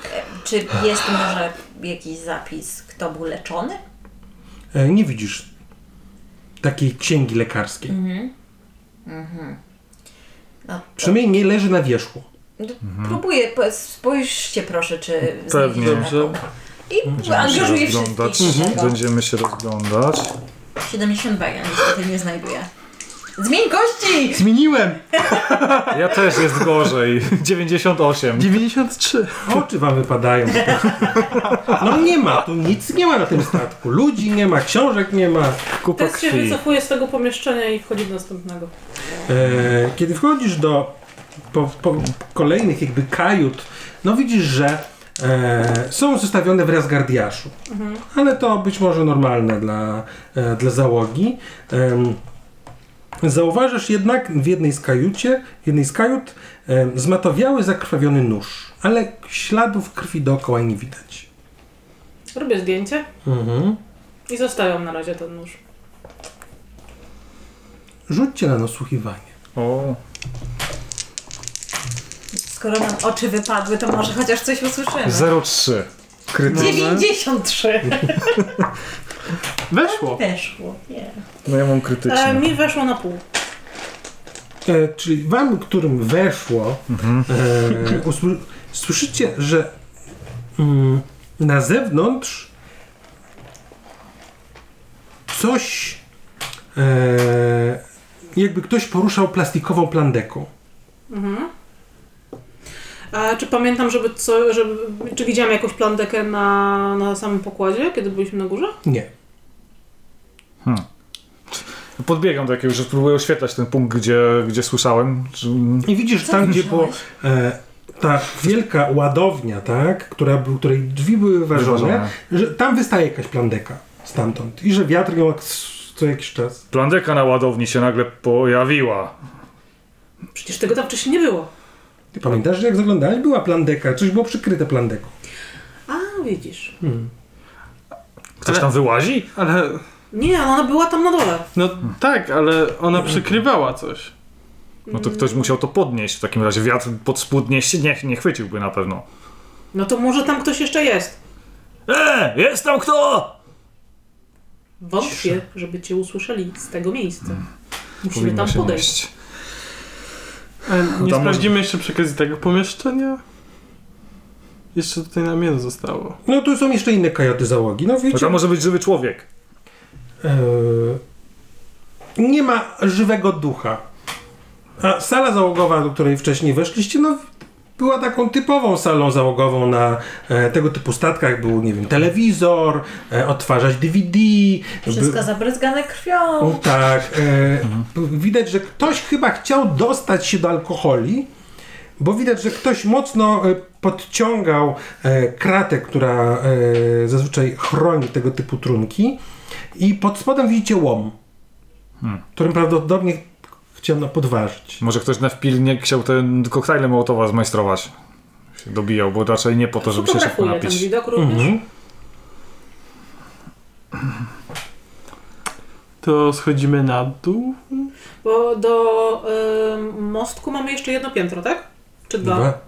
Speaker 3: Czy jest może jakiś zapis, kto był leczony?
Speaker 2: E, nie widzisz takiej księgi lekarskiej.
Speaker 3: Mhm. No, to-
Speaker 2: Przynajmniej nie leży na wierzchu.
Speaker 3: d- Mhm. Próbuję, po- spójrzcie proszę, czy
Speaker 4: Pewnie.
Speaker 3: znajdziecie
Speaker 6: Dobrze.
Speaker 3: taką. I angażuję wszystkich. Mhm.
Speaker 4: Będziemy się rozglądać.
Speaker 3: 72, ja niestety nie znajduję. Zmień kości!
Speaker 6: Zmieniłem!
Speaker 4: Ja też jest gorzej. 98.
Speaker 6: 93.
Speaker 2: Oczy wam wypadają. No nie ma, tu nic nie ma na tym statku. Ludzi nie ma, książek nie ma.
Speaker 4: Kupa
Speaker 5: Test się
Speaker 4: krwi.
Speaker 5: wycofuje z tego pomieszczenia i wchodzi do następnego.
Speaker 2: E, kiedy wchodzisz do po, po kolejnych jakby kajut, no widzisz, że e, są zostawione w razgardiaszu. Ale to być może normalne dla, e, dla załogi. Em, zauważysz jednak w jednej z kajucie, w jednej z kajut em, zmatowiały zakrwawiony nóż, ale śladów krwi dookoła nie widać.
Speaker 5: Robię zdjęcie
Speaker 2: Mhm.
Speaker 5: i zostawiam na razie ten nóż.
Speaker 2: Rzućcie na nasłuchiwanie.
Speaker 4: O,
Speaker 3: Skoro nam oczy wypadły, to może chociaż coś usłyszymy.
Speaker 4: 03.
Speaker 6: Krytyczne.
Speaker 3: 93
Speaker 6: Weszło.
Speaker 3: weszło, nie.
Speaker 4: No ja mam
Speaker 5: E,
Speaker 4: krytyczne.
Speaker 5: mi weszło na pół.
Speaker 2: E, czyli wam, którym weszło, e, usły- słyszycie, że mm, na zewnątrz coś, e, jakby ktoś poruszał plastikową plandeką.
Speaker 5: A czy pamiętam, żeby co, żeby, czy widziałam jakąś plandekę na, na samym pokładzie, kiedy byliśmy na górze?
Speaker 2: Nie.
Speaker 4: Podbiegam do jakiegoś, że próbuję oświetlać ten punkt, gdzie, gdzie słyszałem. Czy...
Speaker 2: I widzisz
Speaker 3: Co
Speaker 2: tam, gdzie
Speaker 3: słyszałeś?
Speaker 2: było e, ta wielka ładownia, tak, która, był- której drzwi były ważone,
Speaker 4: Wyważone.
Speaker 2: że tam wystaje jakaś plandeka stamtąd i że wiatr ją co jakiś czas.
Speaker 4: Plandeka na ładowni się nagle pojawiła.
Speaker 5: Przecież tego tam wcześniej nie było.
Speaker 2: Ty pamiętasz, że jak zaglądałeś, była plandeka, coś było przykryte plandeką.
Speaker 5: A, widzisz.
Speaker 4: Ktoś
Speaker 6: Ale-
Speaker 4: tam wyłazi?
Speaker 6: Ale,
Speaker 5: Nie, ona była tam na dole.
Speaker 6: no tak, ale ona przykrywała coś.
Speaker 4: No
Speaker 5: Mm.
Speaker 4: to ktoś musiał to podnieść. W takim razie wiatr pod spód nie, nie, nie chwyciłby na pewno.
Speaker 5: No to może tam ktoś jeszcze jest.
Speaker 4: E, jest tam kto?
Speaker 5: Wątpię, żeby cię usłyszeli z tego miejsca. Musimy
Speaker 4: Hmm. Powinno
Speaker 5: tam
Speaker 4: się
Speaker 5: podejść.
Speaker 4: nieść.
Speaker 6: E, Nie
Speaker 4: Tam-
Speaker 6: sprawdzimy jeszcze przekazji tego pomieszczenia? Jeszcze tutaj nam jedno zostało.
Speaker 2: No tu są jeszcze inne kajoty załogi. No
Speaker 4: To
Speaker 2: wiecie,
Speaker 4: tam może być żywy człowiek.
Speaker 2: e, nie ma żywego ducha. A sala załogowa, do której wcześniej weszliście, no była taką typową salą załogową na e, tego typu statkach. Był, nie wiem, telewizor, e, odtwarzacz DVD.
Speaker 3: Wszystko
Speaker 2: by-
Speaker 3: zabryzgane krwią.
Speaker 2: O, tak. E, widać, że ktoś chyba chciał dostać się do alkoholi, bo widać, że ktoś mocno e, podciągał e, kratę, która e, zazwyczaj chroni tego typu trunki. I pod spodem widzicie łom,
Speaker 4: Hmm.
Speaker 2: którym prawdopodobnie chciano podważyć.
Speaker 4: Może ktoś na wpilnie chciał ten koktajle Mołotowa zmajstrować. Się dobijał, bo raczej nie po to, żeby się szybko
Speaker 5: Fotografuję ten
Speaker 4: napić. Mhm.
Speaker 5: widok również.
Speaker 2: Mhm.
Speaker 6: To schodzimy na dół? E,
Speaker 5: Bo do ym, mostku mamy jeszcze jedno piętro, tak? Czy dwa?
Speaker 2: Dwa.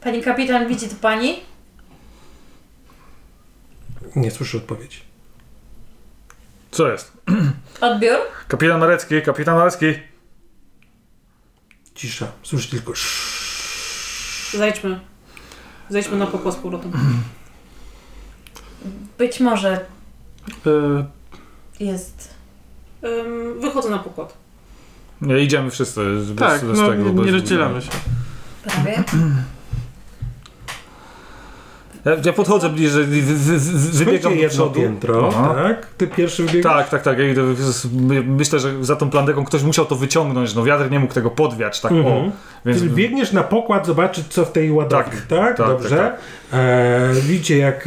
Speaker 3: Pani kapitan, widzi to pani?
Speaker 2: Nie słyszę odpowiedzi.
Speaker 4: Co jest?
Speaker 3: Odbiór?
Speaker 4: Kapitan Marecki, kapitan Marecki.
Speaker 2: Cisza. Słyszę tylko sz.
Speaker 5: Zejdźmy. Zejdźmy na pokład z powrotem.
Speaker 3: Być może
Speaker 6: E,
Speaker 3: jest.
Speaker 5: Ym, wychodzę na pokład.
Speaker 4: Nie, idziemy wszyscy z,
Speaker 6: tak,
Speaker 4: bez, bez
Speaker 6: no
Speaker 4: tego.
Speaker 6: nie,
Speaker 4: bez,
Speaker 6: nie rozdzielamy się.
Speaker 3: Prawie.
Speaker 4: Ja, ja podchodzę bliżej, wy, wy, wy, wybiegam
Speaker 2: Chodźcie
Speaker 4: do
Speaker 2: jedno
Speaker 4: przodu.
Speaker 2: piętro,
Speaker 4: Aha.
Speaker 2: tak? Ty pierwszy wybiegasz?
Speaker 4: Tak, tak, tak. Ja idę, my- myślę, że za tą plandeką ktoś musiał to wyciągnąć. No wiatr nie mógł tego podwiać, tak
Speaker 2: Mhm.
Speaker 4: o. Więc
Speaker 2: Czyli biegniesz na pokład zobaczyć, co w tej ładowni, tak?
Speaker 4: Tak, tak,
Speaker 2: Dobrze.
Speaker 4: tak,
Speaker 2: E, widzicie, jak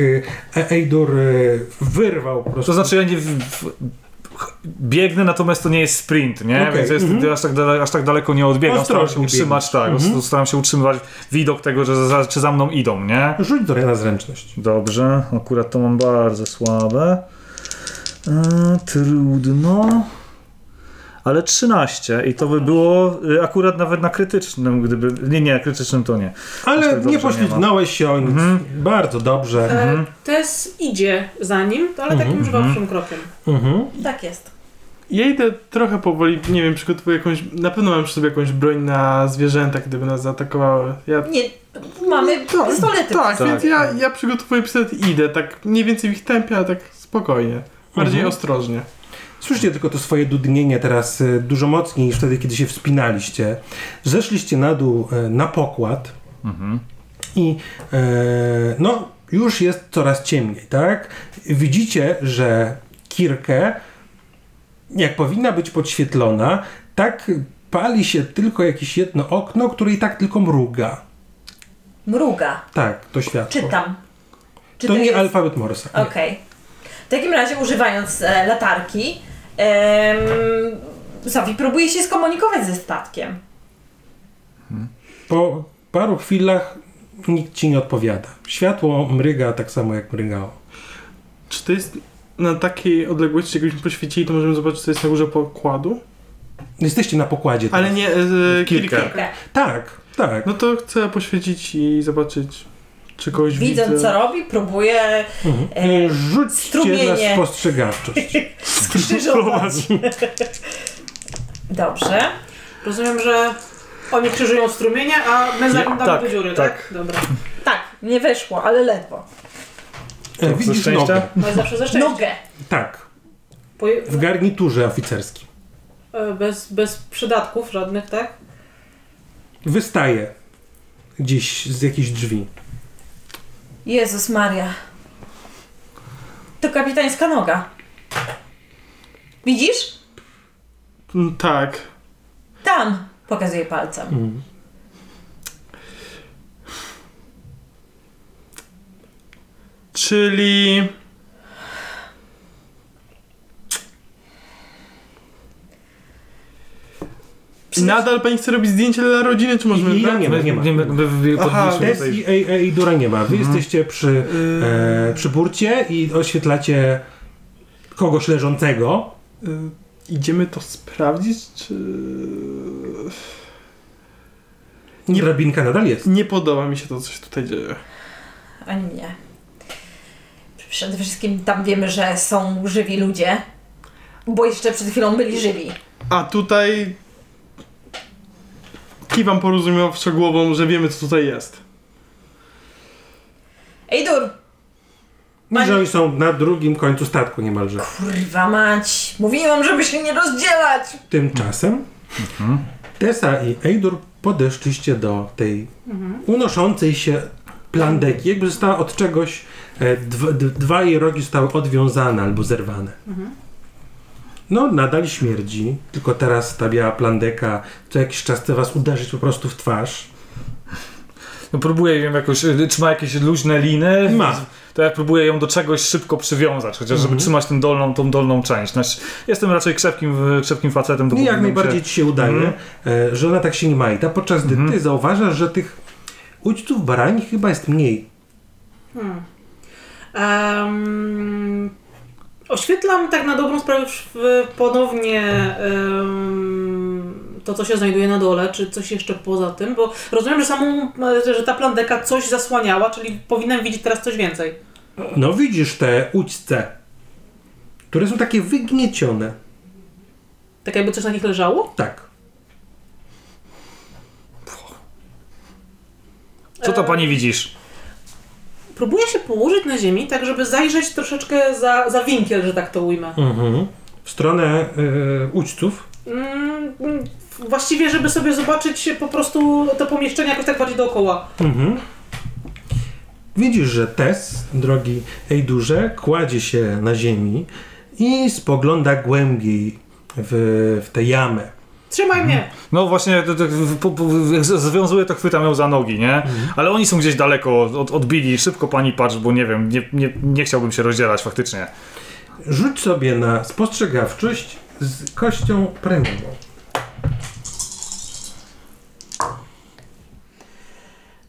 Speaker 2: e, Eidur e, wyrwał po prostu.
Speaker 4: To znaczy ja nie... W, w, biegnę, natomiast to nie jest sprint, nie?
Speaker 2: Okej,
Speaker 4: Więc ja jest,
Speaker 2: mhm.
Speaker 4: aż, tak dale, aż tak daleko nie odbiegam. staram się
Speaker 2: Ostrożnie
Speaker 4: utrzymać, tak.
Speaker 2: Mhm.
Speaker 4: Staram się utrzymywać widok tego, że za, czy za mną idą, nie?
Speaker 2: Rzuć do na zręczność.
Speaker 4: Dobrze, akurat to mam bardzo słabe. E, trudno. Ale 13 i to by było e, akurat nawet na krytycznym, gdyby. Nie, nie, krytycznym to nie.
Speaker 2: Ale
Speaker 4: tak
Speaker 2: nie
Speaker 4: dobrze nie ma. Mhm.
Speaker 2: poślizgnąłeś się o nic. Bardzo dobrze.
Speaker 5: E, Tess idzie za nim, ale takim już waszym krokiem.
Speaker 2: Mhm.
Speaker 3: Tak jest.
Speaker 6: Ja idę trochę powoli, nie wiem, przygotowuję jakąś. Na pewno mam przy sobie jakąś broń na zwierzęta, gdyby nas zaatakowały. Ja.
Speaker 3: Nie, mamy
Speaker 6: Tak,
Speaker 3: pistolety.
Speaker 6: Tak,
Speaker 4: Tak.
Speaker 6: więc ja, ja przygotowuję pistolet i idę, tak mniej więcej w ich tempie, ale tak spokojnie. Bardziej
Speaker 2: Mhm.
Speaker 6: ostrożnie.
Speaker 2: Słyszycie tylko to swoje dudnienie teraz e, dużo mocniej niż wtedy, kiedy się wspinaliście. Zeszliście na dół e, na pokład i e, no, już jest coraz ciemniej, tak? Widzicie, że Kirkę, jak powinna być podświetlona, tak pali się tylko jakieś jedno okno, które i tak tylko mruga.
Speaker 3: Mruga.
Speaker 2: Tak, to światło.
Speaker 3: Czytam. Czy
Speaker 2: to nie
Speaker 3: jest-
Speaker 2: alfabet Morsa. nie.
Speaker 3: Okej. W takim razie używając e, latarki, em, Sofi próbuje się skomunikować ze statkiem.
Speaker 2: Po paru chwilach nikt ci nie odpowiada. Światło mryga tak samo jak mrygało.
Speaker 6: Czy to jest na takiej odległości, jakbyśmy poświecili, to możemy zobaczyć, co jest na górze pokładu?
Speaker 2: Jesteście na pokładzie.
Speaker 6: Ale
Speaker 2: teraz.
Speaker 6: nie, e,
Speaker 4: Tak. Kilka.
Speaker 6: kilka.
Speaker 2: Tak, tak.
Speaker 6: No to chcę poświecić i zobaczyć, czy kogoś widzę.
Speaker 3: Widząc co robi, próbuje
Speaker 2: Mhm.
Speaker 3: e,
Speaker 2: Rzućcie na
Speaker 3: strumienie.
Speaker 2: spostrzegawczość.
Speaker 3: skrzyżować. Dobrze.
Speaker 5: Rozumiem, że oni krzyżują strumienie, a my za
Speaker 4: Nie,
Speaker 5: nim damy
Speaker 4: tak,
Speaker 5: do dziury, tak? Dobra.
Speaker 3: Tak, nie weszło, ale ledwo.
Speaker 2: E, Widzisz
Speaker 4: szczęścia?
Speaker 2: nogę.
Speaker 5: No jest zawsze ze szczęście.
Speaker 3: Nogę.
Speaker 2: Tak,
Speaker 5: Poje-
Speaker 2: w garniturze oficerskim.
Speaker 5: e, bez, bez przydatków żadnych, tak?
Speaker 2: Wystaje gdzieś z jakichś drzwi.
Speaker 3: Jezus Maria. To kapitańska noga. Widzisz?
Speaker 6: Mm, Tak.
Speaker 3: Tam. Pokazuje palcem.
Speaker 6: Czyli. Nadal pani chce robić zdjęcie dla rodziny, czy możemy.
Speaker 2: I ja nie ma, nie ma.
Speaker 4: Nie, my, my, my
Speaker 6: Aha,
Speaker 4: podnieśmy
Speaker 2: Tess
Speaker 4: tutaj.
Speaker 2: i, i, i Dura nie ma. Wy
Speaker 6: Mhm.
Speaker 2: jesteście przy,
Speaker 6: Y,
Speaker 2: e, przy burcie i oświetlacie kogoś leżącego.
Speaker 6: y, idziemy to sprawdzić, czy. Nie-
Speaker 2: Drabinka nadal jest.
Speaker 6: Nie podoba mi się to, co się tutaj dzieje.
Speaker 3: Ani nie. Przede wszystkim tam wiemy, że są żywi ludzie. Bo jeszcze przed chwilą byli żywi.
Speaker 6: A tutaj. Kiwam porozumiewawczo głową, że wiemy, co tutaj jest.
Speaker 3: Ej, dur!
Speaker 2: I że oni są na drugim końcu statku niemalże.
Speaker 3: Kurwa mać! Mówiłam, żeby się nie rozdzielać!
Speaker 2: Tymczasem Tessa i Eidur podeszliście do tej unoszącej się plandeki. Jakby została od czegoś, e, dwa, d- dwa jej rogi zostały odwiązane albo zerwane. No, nadal śmierdzi, tylko teraz ta biała plandeka co jakiś czas chce was uderzyć po prostu w twarz.
Speaker 4: No, próbuję ją jakoś. y, Czy ma jakieś luźne liny?
Speaker 2: Ma.
Speaker 4: To ja próbuję ją do czegoś szybko przywiązać, chociaż
Speaker 2: Mhm.
Speaker 4: żeby trzymać tę dolną, tą dolną część. Znaczy, jestem raczej krzepkim, y, krzepkim facetem. to
Speaker 2: Nie, jak
Speaker 4: powinienem się-
Speaker 2: najbardziej ci się udaje, e, że ona tak się nie majta, podczas gdy ty zauważasz, że tych udźców barani chyba jest mniej.
Speaker 5: Hmm. Em, oświetlam tak na dobrą sprawę w- ponownie em, to, co się znajduje na dole, czy coś jeszcze poza tym, bo rozumiem, że samą, e, że ta plandeka coś zasłaniała, czyli powinnam widzieć teraz coś więcej.
Speaker 2: No widzisz te ućce, które są takie wygniecione.
Speaker 5: Tak jakby coś na nich leżało?
Speaker 2: Tak.
Speaker 4: Co to pani widzisz?
Speaker 5: Próbuję się położyć na ziemi, tak żeby zajrzeć troszeczkę za, za winkiel, że tak to ujmę.
Speaker 2: W stronę yy, ućców.
Speaker 5: Mm, mm, właściwie, żeby sobie zobaczyć po prostu to pomieszczenie jakoś tak bardziej dookoła.
Speaker 2: Widzisz, że Tess, drogi Ejdurze, kładzie się na ziemi i spogląda głębiej w, w tę jamę.
Speaker 5: Trzymaj mnie!
Speaker 4: No właśnie, to, to, po, po, jak z- związuje to, chwytam ją za nogi, nie?
Speaker 2: Mhm.
Speaker 4: Ale oni są gdzieś daleko, od, odbili, szybko pani patrz, bo nie wiem, nie, nie, nie chciałbym się rozdzielać faktycznie.
Speaker 5: Tak,
Speaker 2: Rzuć sobie na spostrzegawczość z kością premiową.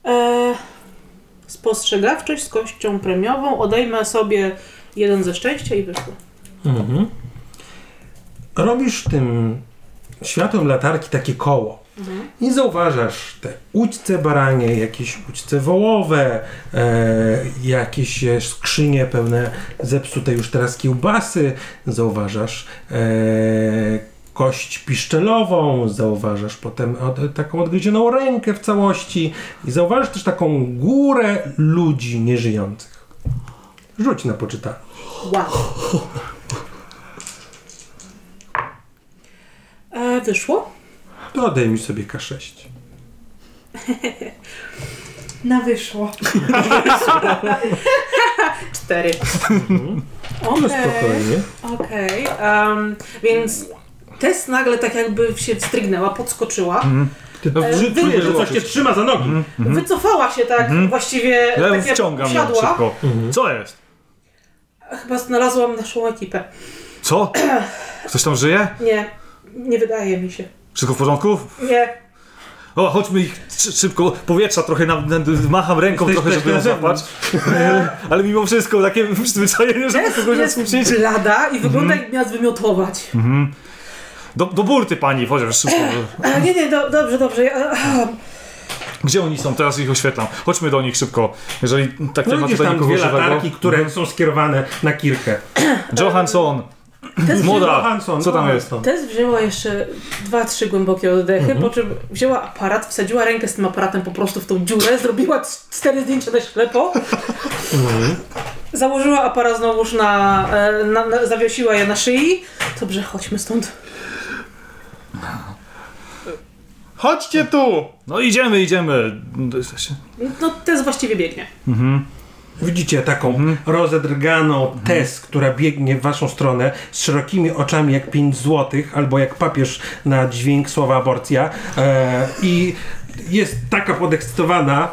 Speaker 5: E, spostrzegawczość z kością premiową. Odejmę sobie jeden ze szczęścia i wyszło.
Speaker 2: Mhm. Robisz tym światłem latarki takie koło. I zauważasz te łódźce baranie, jakieś łódźce wołowe, e, jakieś e, skrzynie pełne zepsute już teraz kiełbasy. Zauważasz e, kość piszczelową, zauważasz potem od, taką odgryzioną rękę w całości i zauważasz też taką górę ludzi nieżyjących. Rzuć na poczytanie.
Speaker 5: Wow. E, wyszło?
Speaker 2: To odejmij sobie K6.
Speaker 3: Na wyszło.
Speaker 5: Cztery.
Speaker 2: No
Speaker 5: Okej,
Speaker 2: spokojnie.
Speaker 5: okej. em, Więc Tess nagle tak jakby się wstrygnęła, podskoczyła.
Speaker 2: Ty
Speaker 4: No,
Speaker 2: e,
Speaker 4: brzyd-
Speaker 2: czujesz, że coś cię
Speaker 4: brzyd-
Speaker 2: Hmm? trzyma za nogi.
Speaker 5: Wycofała się tak właściwie.
Speaker 4: Mhm. Ja ją
Speaker 5: tak jak
Speaker 4: wciągam ją
Speaker 5: siadła.
Speaker 4: szybko.
Speaker 2: Mhm.
Speaker 4: Co jest?
Speaker 5: Chyba znalazłam naszą ekipę.
Speaker 4: Co? Ktoś tam żyje?
Speaker 5: Nie, nie wydaje mi się.
Speaker 4: Wszystko w porządku?
Speaker 5: Nie.
Speaker 4: O, chodźmy ich szy- szybko, powietrza trochę, nam, nam, macham ręką
Speaker 2: Jesteś
Speaker 4: trochę,
Speaker 2: też
Speaker 4: żeby ją
Speaker 2: na
Speaker 4: złapać. E, Ale mimo wszystko takie przyzwyczajenie, żeby
Speaker 5: Tess
Speaker 4: kogoś Mhm.
Speaker 5: jest
Speaker 4: odpuścić.
Speaker 5: blada i wygląda jak miała zwymiotować.
Speaker 4: Do, do burty pani, chociaż szybko.
Speaker 5: A, E, nie, nie, do, dobrze, dobrze. Ja, a,
Speaker 4: Gdzie oni są? Teraz ich oświetlam. Chodźmy do nich szybko. Jeżeli tak
Speaker 2: No
Speaker 4: nie ma
Speaker 2: widzisz
Speaker 4: tutaj
Speaker 2: tam
Speaker 4: nikogo
Speaker 2: dwie
Speaker 4: żywego.
Speaker 2: latarki, które
Speaker 4: Hmm?
Speaker 2: są skierowane na kirkę.
Speaker 4: Johansson!
Speaker 5: Tess,
Speaker 4: Młoda!
Speaker 2: Hanson,
Speaker 4: Co tam
Speaker 2: no,
Speaker 4: jest?
Speaker 2: Hanson.
Speaker 5: Tess wzięła jeszcze dwa, trzy głębokie oddechy, po czym wzięła aparat, wsadziła rękę z tym aparatem po prostu w tą dziurę, zrobiła c- cztery zdjęcia na ślepo, założyła aparat znowuż na, e, na, na... zawiesiła je na szyi. Dobrze, chodźmy stąd.
Speaker 6: Chodźcie tu!
Speaker 4: No idziemy, idziemy.
Speaker 5: No Tess właściwie biegnie.
Speaker 2: Widzicie taką
Speaker 4: Hmm?
Speaker 2: rozedrganą Tess, która biegnie w waszą stronę z szerokimi oczami jak 5 złotych, albo jak papież na dźwięk słowa aborcja. E, I jest taka podekscytowana,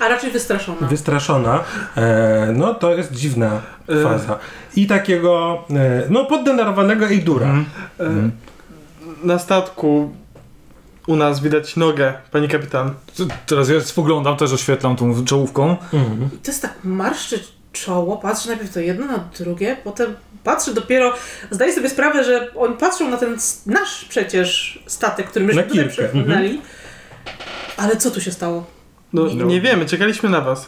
Speaker 5: A raczej wystraszona.
Speaker 2: wystraszona. E, no to jest dziwna
Speaker 6: E.
Speaker 2: faza. I takiego, e, no poddenerwowanego Ejdura.
Speaker 4: Hmm?
Speaker 6: E, Na statku u nas widać nogę, pani kapitan.
Speaker 4: Teraz ja spoglądam, też oświetlam tą czołówką.
Speaker 2: Mhm.
Speaker 5: Tess tak marszczy czoło, patrzy najpierw to jedno na drugie, potem patrzy dopiero, zdaje sobie sprawę, że oni patrzą na ten s- nasz przecież statek, który myśmy
Speaker 2: Na
Speaker 5: tutaj
Speaker 2: kilka,
Speaker 5: przepłynęli. Ale co tu się stało?
Speaker 6: No,
Speaker 3: Nie.
Speaker 6: nie wiemy, czekaliśmy na was.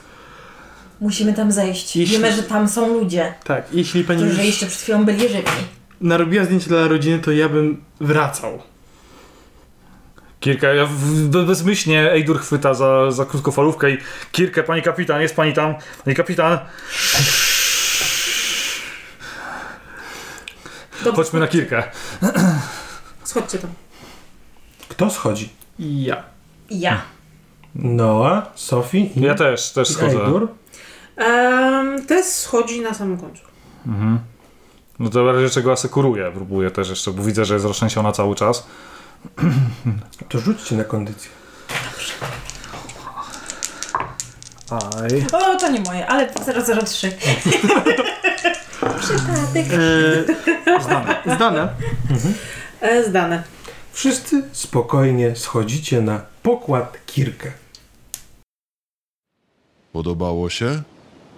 Speaker 3: Musimy tam zejść.
Speaker 6: Jeśli-
Speaker 3: Wiemy, że tam są ludzie,
Speaker 6: Tak, jeśli pani już
Speaker 3: którzy jeszcze przed chwilą byli żywi.
Speaker 6: narobiła zdjęcie dla rodziny, to ja bym wracał.
Speaker 4: Kirka, ja w- w- bezmyślnie Ejdur chwyta za, za krótkofalówkę i Kirkę, pani kapitan, jest pani tam? Pani kapitan,
Speaker 5: Dobrze,
Speaker 4: chodźmy na Kirkę.
Speaker 5: Schodźcie tam.
Speaker 2: Kto schodzi?
Speaker 6: Ja.
Speaker 3: Ja.
Speaker 2: Noa, Sophie i,
Speaker 4: Ja też, też
Speaker 2: i
Speaker 4: schodzę.
Speaker 2: Eidur.
Speaker 5: Um, Tess schodzi na samym końcu.
Speaker 4: No to w razie czego asekuruję, próbuję też jeszcze, bo widzę, że jest rozszczęsiona cały czas.
Speaker 2: To rzućcie na kondycję.
Speaker 4: Aj.
Speaker 3: O, to nie moje, ale 003. Przypadek.
Speaker 6: Zdane. Zdane.
Speaker 5: E, zdane.
Speaker 2: Wszyscy spokojnie schodzicie na pokład Kirkę.
Speaker 1: Podobało się?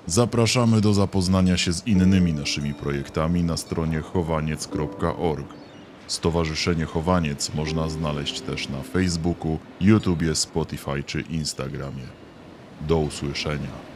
Speaker 1: Zapraszamy do zapoznania się z innymi naszymi projektami na stronie chowaniec.org. Stowarzyszenie Chowaniec można znaleźć też na Facebooku, YouTubie, Spotify czy Instagramie. Do usłyszenia.